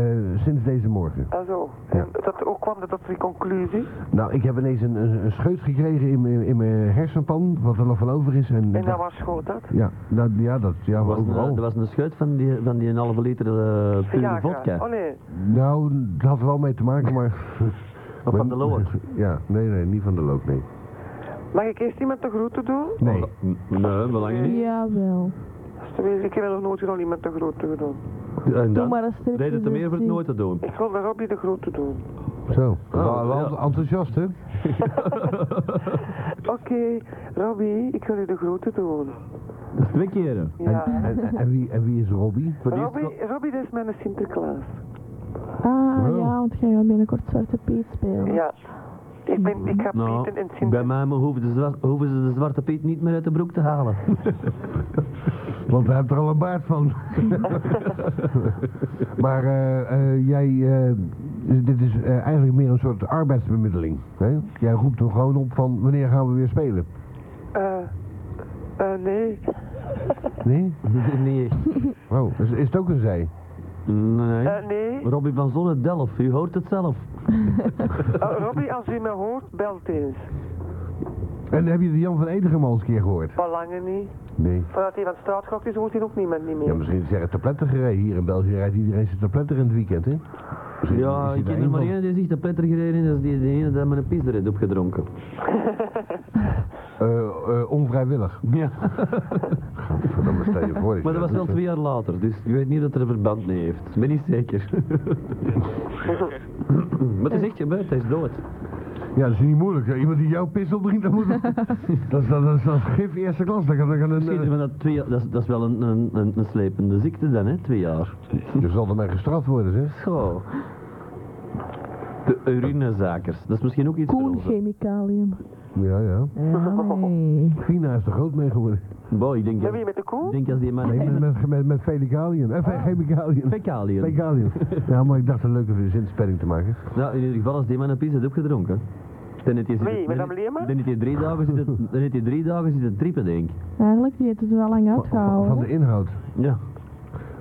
Speaker 1: sinds deze morgen.
Speaker 5: Ah zo. En dat, hoe kwam dat tot die conclusie?
Speaker 1: Nou, ik heb ineens een, een, een scheut gekregen in, mijn- in mijn hersenpan, wat er nog van over is. En,
Speaker 5: En dat was goed, dat?
Speaker 1: Ja, dat, ja, dat, ja,
Speaker 3: Was een,
Speaker 1: overal.
Speaker 3: er was een scheut van die, van die een halve liter eh pure vodka.
Speaker 5: Oh nee.
Speaker 1: Nou, dat had er wel mee te maken, maar...
Speaker 3: Of van de Lower.
Speaker 1: Ja, nee, nee, niet van de loop, nee.
Speaker 5: Mag ik eerst iemand de groeten doen?
Speaker 1: Nee.
Speaker 3: Nee, belangrijk niet.
Speaker 2: Jawel.
Speaker 5: Alsjeblieft, ik heb nog nooit al iemand de groeten gedaan.
Speaker 3: En
Speaker 2: Doe
Speaker 3: dan
Speaker 2: maar een stripje.
Speaker 3: deed het er meer voor het nooit te doen.
Speaker 5: Ik wil de Robbie de groeten doen.
Speaker 1: Zo.
Speaker 3: Oh,
Speaker 1: wel
Speaker 3: ja.
Speaker 1: enthousiast, hè?
Speaker 5: Oké, Robbie, ik wil je de groeten doen.
Speaker 3: Dat is twee keren.
Speaker 5: Ja.
Speaker 1: En, en, en wie, en wie is Robbie?
Speaker 3: Voor die
Speaker 5: Robbie, Robbie, dat is mijn Sinterklaas.
Speaker 2: Ah,
Speaker 1: Wel.
Speaker 2: ja, want jij gaat binnenkort Zwarte Piet spelen.
Speaker 5: Ja. Ik, ben, ik heb
Speaker 3: Nou,
Speaker 5: Pieten en
Speaker 3: bij
Speaker 5: Sinterklaas.
Speaker 3: mij hoeven, de zwar- hoeven ze de zwarte piet niet meer uit de broek te halen.
Speaker 1: Want hij heeft er al een baard van. maar eh, eh, jij, eh, dit is eh, eigenlijk meer een soort arbeidsbemiddeling. Hè? Jij roept hem gewoon op van wanneer gaan we weer spelen?
Speaker 5: Eh, eh, nee.
Speaker 1: Nee?
Speaker 3: nee.
Speaker 1: Oh, is, is het ook een zij?
Speaker 3: Nee.
Speaker 5: Eh, nee.
Speaker 3: Robbie van Zonne Delft, u hoort het zelf.
Speaker 5: Eh, Robbie, als u me hoort, belt eens.
Speaker 1: En heb je de Jan van Edegem al eens een keer gehoord?
Speaker 5: Belangen niet.
Speaker 1: Nee.
Speaker 5: Voordat hij van straat gaat is, hoort hij ook niemand niet meer.
Speaker 1: Ja, misschien is hij tabletten gereden. Hier in België rijdt iedereen zijn tabletten in het weekend, hè? Misschien is
Speaker 3: Ja,
Speaker 1: hij
Speaker 3: ik
Speaker 1: daar
Speaker 3: ken er
Speaker 1: een
Speaker 3: maar
Speaker 1: van.
Speaker 3: één die zich de pletter gereden is, dat is die, die ene dat met een pis eruit opgedronken.
Speaker 1: Eh, eh, onvrijwillig.
Speaker 3: Ja.
Speaker 1: Verdomme, stel je voor.
Speaker 3: Maar dat was wel
Speaker 1: eh,
Speaker 3: twee jaar later, dus ik weet niet dat er een verband mee heeft. Ik ben niet zeker. maar het is echt gebeurd, hij is dood.
Speaker 1: Ja, dat is niet moeilijk. hè. Iemand die jouw pis opdringt, dan moet dat, is, dat, is, dat is gif eerste klas. Dan kan, dan kan een,
Speaker 3: Schieten,
Speaker 1: eh,
Speaker 3: maar dat, twee, jaar- dat, is, dat is wel een, een, een, een slepende ziekte dan, hè? Twee jaar.
Speaker 1: je zal ermee gestraft worden, zeg.
Speaker 3: Zo. De urinezakers. Dat is misschien ook iets voor
Speaker 2: Koen
Speaker 3: ons, hè.
Speaker 2: chemicalium.
Speaker 1: Ja, ja.
Speaker 2: Ja, nee.
Speaker 1: Fina is er groot mee geworden.
Speaker 3: Wow, ik denk,
Speaker 5: Met
Speaker 3: dat,
Speaker 5: wie? Met de koe?
Speaker 3: ik denk als die man...
Speaker 1: Nee, met, met, met, met felicaliën. Eh,
Speaker 3: Ah.
Speaker 1: fe- chemicaliën.
Speaker 3: Fecaliën.
Speaker 1: Fecaliën. Ja, maar ik dacht een leuke zinspelling te maken.
Speaker 3: Nou, in ieder geval als die man een pis heeft opgedronken. Dan heeft hij
Speaker 5: Wie?
Speaker 3: zitten-
Speaker 5: Met
Speaker 3: dan-
Speaker 5: dat Lema?
Speaker 3: Dan heeft hij drie dagen zitten, dan heeft hij drie dagen zitten trippen, denk ik.
Speaker 2: Eigenlijk, die heeft het wel lang
Speaker 1: Van, van- van
Speaker 2: uitgehouden.
Speaker 1: de inhoud.
Speaker 3: Ja.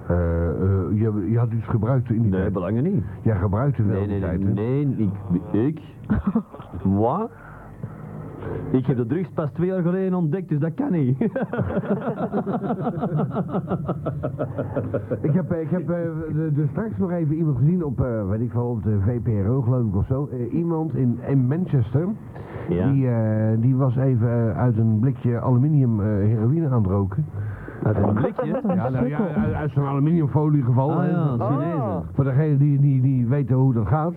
Speaker 1: Eh, eh, je, je had iets gebruikt in die
Speaker 3: Nee,
Speaker 1: tijd.
Speaker 3: belangen niet.
Speaker 1: Jij gebruikte wel
Speaker 3: Nee, nee,
Speaker 1: die
Speaker 3: nee,
Speaker 1: tijd, hè?
Speaker 3: nee, ik, ik, moi, ik heb de drugs pas twee jaar geleden ontdekt, dus dat kan niet.
Speaker 1: Ik heb, eh, ik heb eh, de, de straks nog even iemand gezien op, eh weet ik veel, op de VPRO geloof ik of zo. Eh, iemand in, in Manchester, die, eh, die was even eh, uit een blikje aluminium eh, heroïne aan het roken.
Speaker 3: uit een blikje.
Speaker 1: Ja, nou ja, uit, uit zo'n aluminiumfolie gevallen.
Speaker 3: Ah ja,
Speaker 1: Eh,
Speaker 3: Chinezen.
Speaker 1: Voor degenen die, die, die weten hoe dat gaat.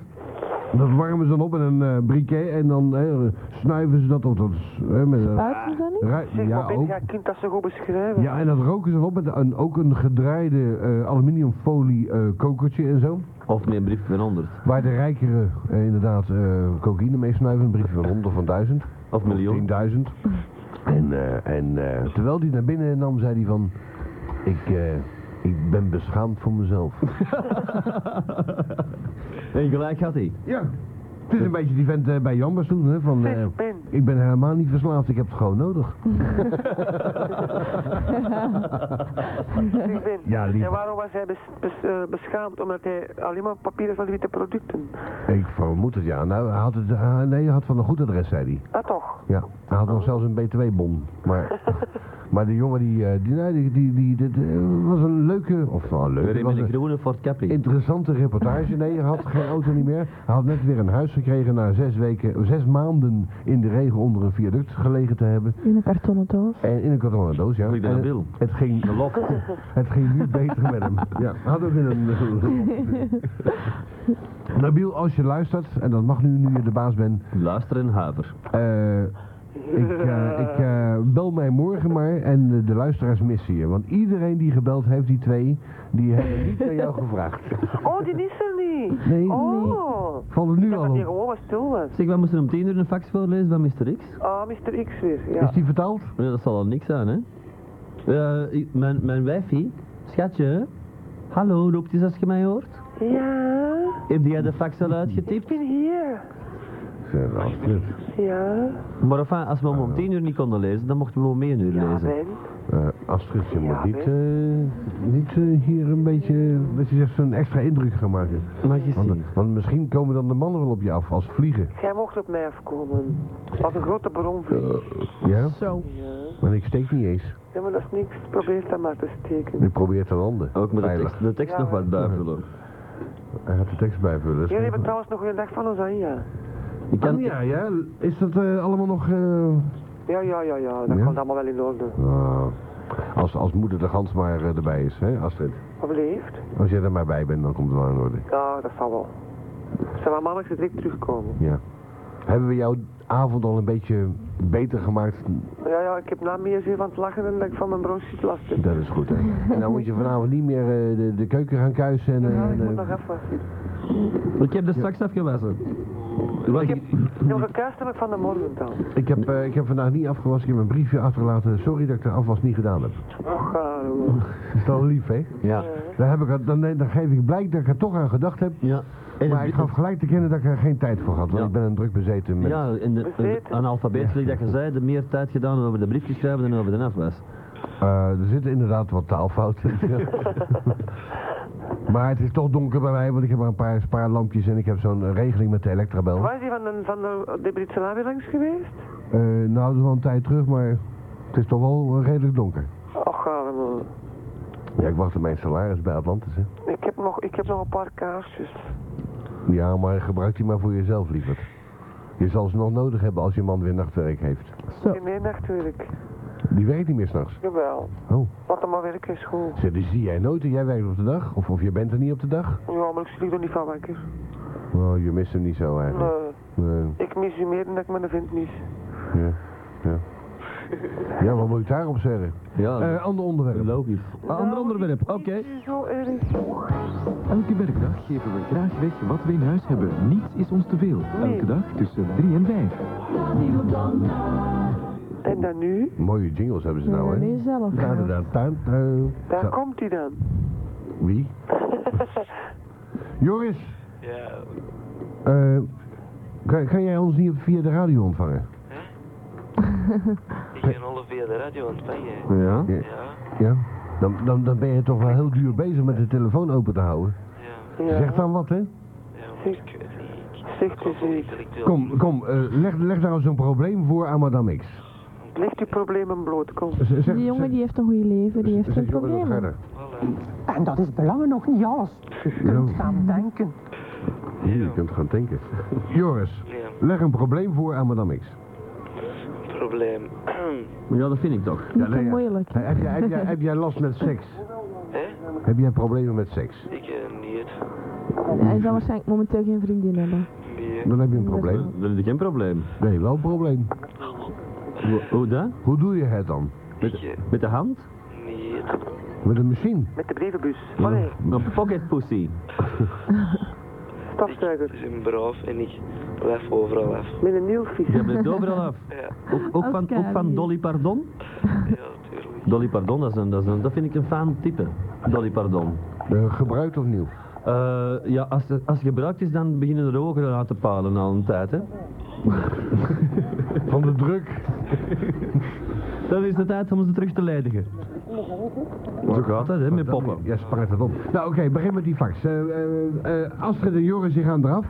Speaker 1: Dat warmen ze dan op in een eh, briquet en dan eh, snuiven ze dat op. Dat, is, eh, met, een
Speaker 2: Uit is dat niet?
Speaker 1: ru-
Speaker 5: Zeg,
Speaker 1: ja,
Speaker 5: maar ben
Speaker 1: ook.
Speaker 5: jij kind dat zo goed beschrijven?
Speaker 1: Ja, en dat roken ze dan op met een, ook een gedraaide eh, aluminiumfolie eh, kokertje en zo.
Speaker 3: Of met een brief van 100.
Speaker 1: Waar de rijkere eh, inderdaad eh, cocaïne mee snuiven, een briefje van 100 of van 1000.
Speaker 3: Of miljoen.
Speaker 1: 10.000. En, eh, en eh, terwijl hij naar binnen nam, zei hij van, ik, eh, ik ben beschaamd voor mezelf.
Speaker 3: En gelijk had hij.
Speaker 1: Ja, het is een beetje die vent eh, bij Jambers toen, hè, van, eh,
Speaker 5: Zeg, Ben.
Speaker 1: ik ben helemaal niet verslaafd, ik heb het gewoon nodig.
Speaker 5: Zeg, Ben.
Speaker 1: Ja, lief.
Speaker 5: En waarom was hij bes- bes- eh, beschaamd? Omdat hij alleen maar papieren van de witte producten.
Speaker 1: Ik vermoed het, ja. Nou, hij had, het, ah, nee, hij had van een goed adres, zei hij.
Speaker 5: Ah, toch?
Speaker 1: Ja, hij had nog zelfs een btw-bon. Maar, maar die jongen, die, eh, die, nee, die, die, die, dit, eh, was een leuke, of nou, leuk,
Speaker 3: Weer
Speaker 1: het
Speaker 3: in
Speaker 1: was
Speaker 3: een
Speaker 1: een
Speaker 3: groene Ford Capri.
Speaker 1: interessante reportage. Nee, hij had geen auto niet meer. Hij had net weer een huis gekregen na zes, weken, zes maanden in de regen onder een viaduct gelegen te hebben.
Speaker 2: In een kartonnen doos.
Speaker 1: En in een kartonnen doos, ja.
Speaker 3: Goed, dat
Speaker 1: En
Speaker 3: wil.
Speaker 1: het, het ging
Speaker 3: Een loft.
Speaker 1: het ging nu beter met hem. Ja, hij had ook in een... eh, Nabil, als je luistert, en dat mag nu, nu je de baas bent,
Speaker 3: Luister en huiver.
Speaker 1: eh, ik, eh, ik eh, bel mij morgen maar en de, de luisteraars missen je. Want iedereen die gebeld heeft, die twee, die hebben niet naar jou gevraagd.
Speaker 5: Oh, die is er niet.
Speaker 1: Nee,
Speaker 5: Oh.
Speaker 1: vallen nu
Speaker 5: Ik dacht
Speaker 1: al
Speaker 5: dat hij
Speaker 1: op.
Speaker 5: gewoon wat stil was.
Speaker 3: Zeg, wij moesten om tien uur een fax voorlezen van Mr. X.
Speaker 5: Ah, Mr. X weer.
Speaker 1: Is
Speaker 5: Ja.
Speaker 1: die vertaald?
Speaker 3: Nee, dat zal al niks zijn, hè? Eh, ik- mijn, mijn wijfie, schatje, hallo, roept eens als je mij hoort.
Speaker 5: Ja,
Speaker 3: Heb jij de fax al uitgetipt?
Speaker 5: ik ben hier.
Speaker 1: Zeg, dat is kut.
Speaker 5: Ja.
Speaker 3: Maar enfin, als we hem om tien uur niet konden lezen, dan mochten we hem om één uur
Speaker 5: Ja,
Speaker 3: lezen.
Speaker 5: Ben.
Speaker 1: Eh, Astrid, je moet
Speaker 5: Ja,
Speaker 1: niet, eh, niet eh, hier een beetje, dat je zegt, zo'n extra indruk gaan maken.
Speaker 3: Mag je zien.
Speaker 1: Want, want misschien komen dan de mannen wel op je af, als vliegen.
Speaker 5: Jij mocht op mij afkomen. Als een grote bronvlieg.
Speaker 1: Ja?
Speaker 2: Zo.
Speaker 5: Ja.
Speaker 1: Maar ik steek niet eens.
Speaker 5: ja, maar dat is niks. Probeer dat maar te steken.
Speaker 1: Ik probeer te landen.
Speaker 3: Ook met de
Speaker 1: Veilig.
Speaker 3: tekst, de tekst
Speaker 5: Ja,
Speaker 3: nog wat bijvullen.
Speaker 1: Hij gaat de tekst bijvullen.
Speaker 5: Jullie hebben trouwens nog een dag van ons aan, ja.
Speaker 3: Ik kan,
Speaker 1: Oh, ja, ja. Is dat eh, allemaal nog... eh,
Speaker 5: Ja, ja, ja, ja. Dat
Speaker 1: Ja?
Speaker 5: komt allemaal wel in orde.
Speaker 1: ah, als, als moeder de gans maar eh, erbij is, hè, Astrid?
Speaker 5: Wat beleefd?
Speaker 1: Als jij er maar bij bent, dan komt het wel in orde.
Speaker 5: Ja, dat zal wel. Zal maar maandag zo direct terugkomen.
Speaker 1: Hebben we jouw avond al een beetje beter gemaakt?
Speaker 5: Ja, ja, ik heb na meer zin van het lachen en dat ik van mijn broodjes last heb.
Speaker 1: Dat is goed, hè? En dan moet je vanavond niet meer eh, de, de keuken gaan kuisen en... eh,
Speaker 5: Ja, ik
Speaker 1: en,
Speaker 5: moet
Speaker 1: eh,
Speaker 5: nog afwassen.
Speaker 3: ik heb er straks afgewassen. Wat
Speaker 5: Ik
Speaker 3: ik-
Speaker 5: heb nog een kuis heb ik van de morgen dan.
Speaker 1: Ik heb, eh, ik heb vandaag niet afgewassen, ik heb mijn briefje achtergelaten. Sorry dat ik de afwas niet gedaan heb.
Speaker 5: Och, ja, jongen.
Speaker 1: Is dat lief, hè?
Speaker 3: Ja.
Speaker 1: Dan, heb ik, het- dan, dan geef ik blijk dat ik er toch aan gedacht heb.
Speaker 3: Ja. En
Speaker 1: Maar ik gaf gelijk te kennen dat ik er geen tijd voor had, want
Speaker 3: Ja.
Speaker 1: ik ben een druk bezeten mens.
Speaker 3: ja, in de, in de
Speaker 5: Bezeten.
Speaker 3: analfabeet, zoals dat je zei, de meer tijd gedaan over de briefjes schrijven dan over de afwas.
Speaker 1: Eh, er zitten inderdaad wat taalfouten. maar het is toch donker bij mij, want ik heb maar een paar spaarlampjes en ik heb zo'n eh, regeling met de elektrabel.
Speaker 5: Waar is die van de, van de, de Britse lobby langs geweest?
Speaker 1: Eh, nou, dat is wel een tijd terug, maar het is toch wel eh, redelijk donker.
Speaker 5: Och, ja, jongen.
Speaker 1: Ja, ik wacht op mijn salaris bij Atlantis, hè.
Speaker 5: ik heb nog, ik heb nog een paar kaarsjes.
Speaker 1: Ja, maar gebruik die maar voor jezelf, lieverd. Je zal ze nog nodig hebben als je man weer nachtwerk heeft.
Speaker 2: Zo.
Speaker 5: In één nachtwerk.
Speaker 1: Die werkt niet meer s'nachts.
Speaker 5: Jawel.
Speaker 1: Oh.
Speaker 5: Laat hem maar werken, is goed.
Speaker 1: Zeg, die zie jij nooit en jij werkt op de dag? Of, of je bent er niet op de dag?
Speaker 5: Ja, maar ik zie er niet van wakker.
Speaker 1: Oh, je mist hem niet zo eigenlijk.
Speaker 5: Nee.
Speaker 1: Nee.
Speaker 5: eh, Ik mis u meer dan dat ik mijn vent mis.
Speaker 1: Ja. Ja. ja, wat moet ik daarop zeggen?
Speaker 3: Ja,
Speaker 1: Eh, ander onderwerp.
Speaker 3: Oh. logisch.
Speaker 11: Ander onderwerp, oké.
Speaker 5: Zo erg.
Speaker 11: Elke werkdag geven we graag weg wat we in huis hebben. Niets is ons te veel. Elke dag tussen 3 en 5.
Speaker 5: En dan nu?
Speaker 1: Mooie jingles hebben ze nou, hè?
Speaker 2: Nee, zelf.
Speaker 1: Ja, inderdaad. Tuin, tuin.
Speaker 5: Daar
Speaker 1: Zo,
Speaker 5: komt hij dan.
Speaker 1: Wie? Joris,
Speaker 7: Ja,
Speaker 1: eh, kan, kan jij ons niet via de radio ontvangen?
Speaker 7: ik ben al via de radio ontvangen.
Speaker 1: Ja?
Speaker 7: Ja,
Speaker 1: Ja? Dan, dan, dan ben je toch wel heel duur bezig met de telefoon open te houden.
Speaker 5: Ja.
Speaker 1: Zeg dan wat, hè?
Speaker 7: ja, maar
Speaker 5: Zeg,
Speaker 7: ik weet niet.
Speaker 5: zeg dus eens.
Speaker 7: Intellectueel.
Speaker 1: Kom, kom, eh, leg, leg nou zo'n probleem voor aan Madame X.
Speaker 5: Leg die problemen bloot, kom.
Speaker 1: Z- Zeg,
Speaker 2: Die jongen die heeft een goed leven, die heeft geen
Speaker 1: zeg Joris wat
Speaker 2: probleem.
Speaker 3: nou?
Speaker 1: verder.
Speaker 12: En dat is belangen nog niet alles. Je kunt gaan denken.
Speaker 1: Hier, je kunt gaan denken. Joris,
Speaker 7: Ja.
Speaker 1: leg een probleem voor aan Madame X.
Speaker 7: Probleem.
Speaker 3: Ja, dat vind ik toch.
Speaker 2: Niet zo moeilijk.
Speaker 1: Heb, jij- heb, jij, heb jij last met seks?
Speaker 7: Hè?
Speaker 1: Heb jij problemen met seks?
Speaker 7: Ik eh, niet.
Speaker 2: Hij zal waarschijnlijk momenteel geen vriendin hebben.
Speaker 7: Nee.
Speaker 1: Dan heb je een probleem.
Speaker 3: Dan is er geen probleem.
Speaker 1: Nee, wel een probleem.
Speaker 3: Hoe, hoe dat?
Speaker 1: Hoe doe je het dan?
Speaker 7: Ik eh,
Speaker 3: Met de hand?
Speaker 7: niet.
Speaker 1: Met een machine?
Speaker 5: Met de brievenbus. Maar nee,
Speaker 3: Een pocket pussy.
Speaker 5: stofzuiger.
Speaker 7: Ik ben braaf en ik lef overal af.
Speaker 5: Met een nieuwfiets.
Speaker 3: Je blijft overal af.
Speaker 7: Ja,
Speaker 3: Ook, ook, van, ook van Dolly Pardon?
Speaker 7: ja, tuurlijk.
Speaker 3: Dolly Pardon, dat, is een, dat, is een, dat vind ik een fijn type. Dolly Pardon.
Speaker 1: Eh, gebruikt of nieuw?
Speaker 3: Eh, ja, als, het- als het gebruikt is, dan beginnen de ogen aan te palen al een tijd, hè.
Speaker 1: Van de druk.
Speaker 3: Dan is het tijd om ze terug te ledigen. Zo gaat dat, hè, met poppen.
Speaker 1: Ja, spaart het op. Nou, oké, begin met die fax. Eh, eh, eh, Astrid en Joris, die gaan eraf.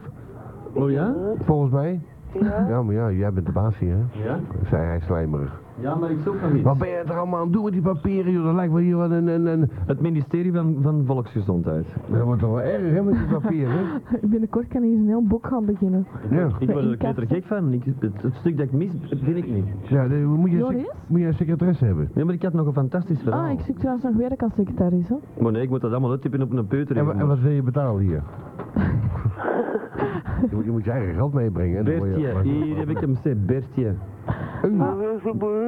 Speaker 3: Oh ja?
Speaker 1: Volgens mij.
Speaker 5: Ja.
Speaker 1: Ja, maar ja, jij bent de baas hier, hè?
Speaker 3: Ja?
Speaker 1: Zei hij slijmerig.
Speaker 3: Ja, maar ik zoek nog iets.
Speaker 1: Wat ben je er allemaal aan het doen met die papieren, joh? Dat lijkt wel hier wat een... een, een...
Speaker 3: Het ministerie van, van Volksgezondheid.
Speaker 1: Dat wordt toch wel erg, hè, met die papieren?
Speaker 2: Binnenkort kan hij eens een heel boek gaan beginnen.
Speaker 1: ja.
Speaker 3: Ik word er knettergek van. Ik, het, het stuk dat ik mis, vind ik niet.
Speaker 1: Ja, de- moet je, een sec-
Speaker 2: Joris?
Speaker 1: moet je een secretaresse hebben?
Speaker 3: Ja, maar ik had nog een fantastisch verhaal.
Speaker 2: Ah, ik zoek trouwens nog werk als secretaris, hè.
Speaker 3: Maar nee, ik moet dat allemaal uittypen op een peuter.
Speaker 1: En, wa- en wat wil je betalen hier? je, moet, je moet je eigen geld meebrengen. En dan word
Speaker 3: Bertje,
Speaker 1: je,
Speaker 3: hier heb ik hem, zeg, Bertje.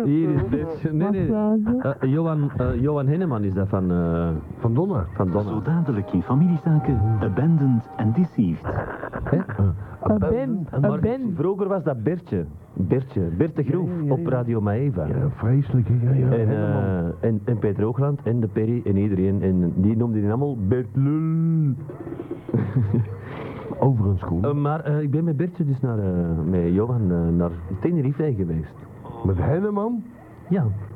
Speaker 3: Hier is Bertje. Nee,
Speaker 2: Wat
Speaker 3: nee.
Speaker 2: zou je-
Speaker 3: Eh, Johan, eh, Johan Henneman is dat van, eh,
Speaker 1: Van Donna.
Speaker 3: van Donna.
Speaker 13: Zo dadelijk in familiezaken, abandoned and deceived.
Speaker 2: Een ben, een
Speaker 3: Eh, Maar
Speaker 2: ben.
Speaker 3: vroeger was dat Bertje. Bertje. Bertje Groef op Radio Maeva.
Speaker 1: Ja, vreselijk, hè? Ja, ja,
Speaker 3: En,
Speaker 1: helemaal.
Speaker 3: eh, en, en Peter Hoogland en de Perry en iedereen. En die noemden die allemaal Bert Lul.
Speaker 1: Overigens, Koen,
Speaker 3: Eh, maar eh, ik ben met Bertje dus naar, eh, met Johan eh, naar Tenerife geweest.
Speaker 1: met Henneman?
Speaker 3: Ja,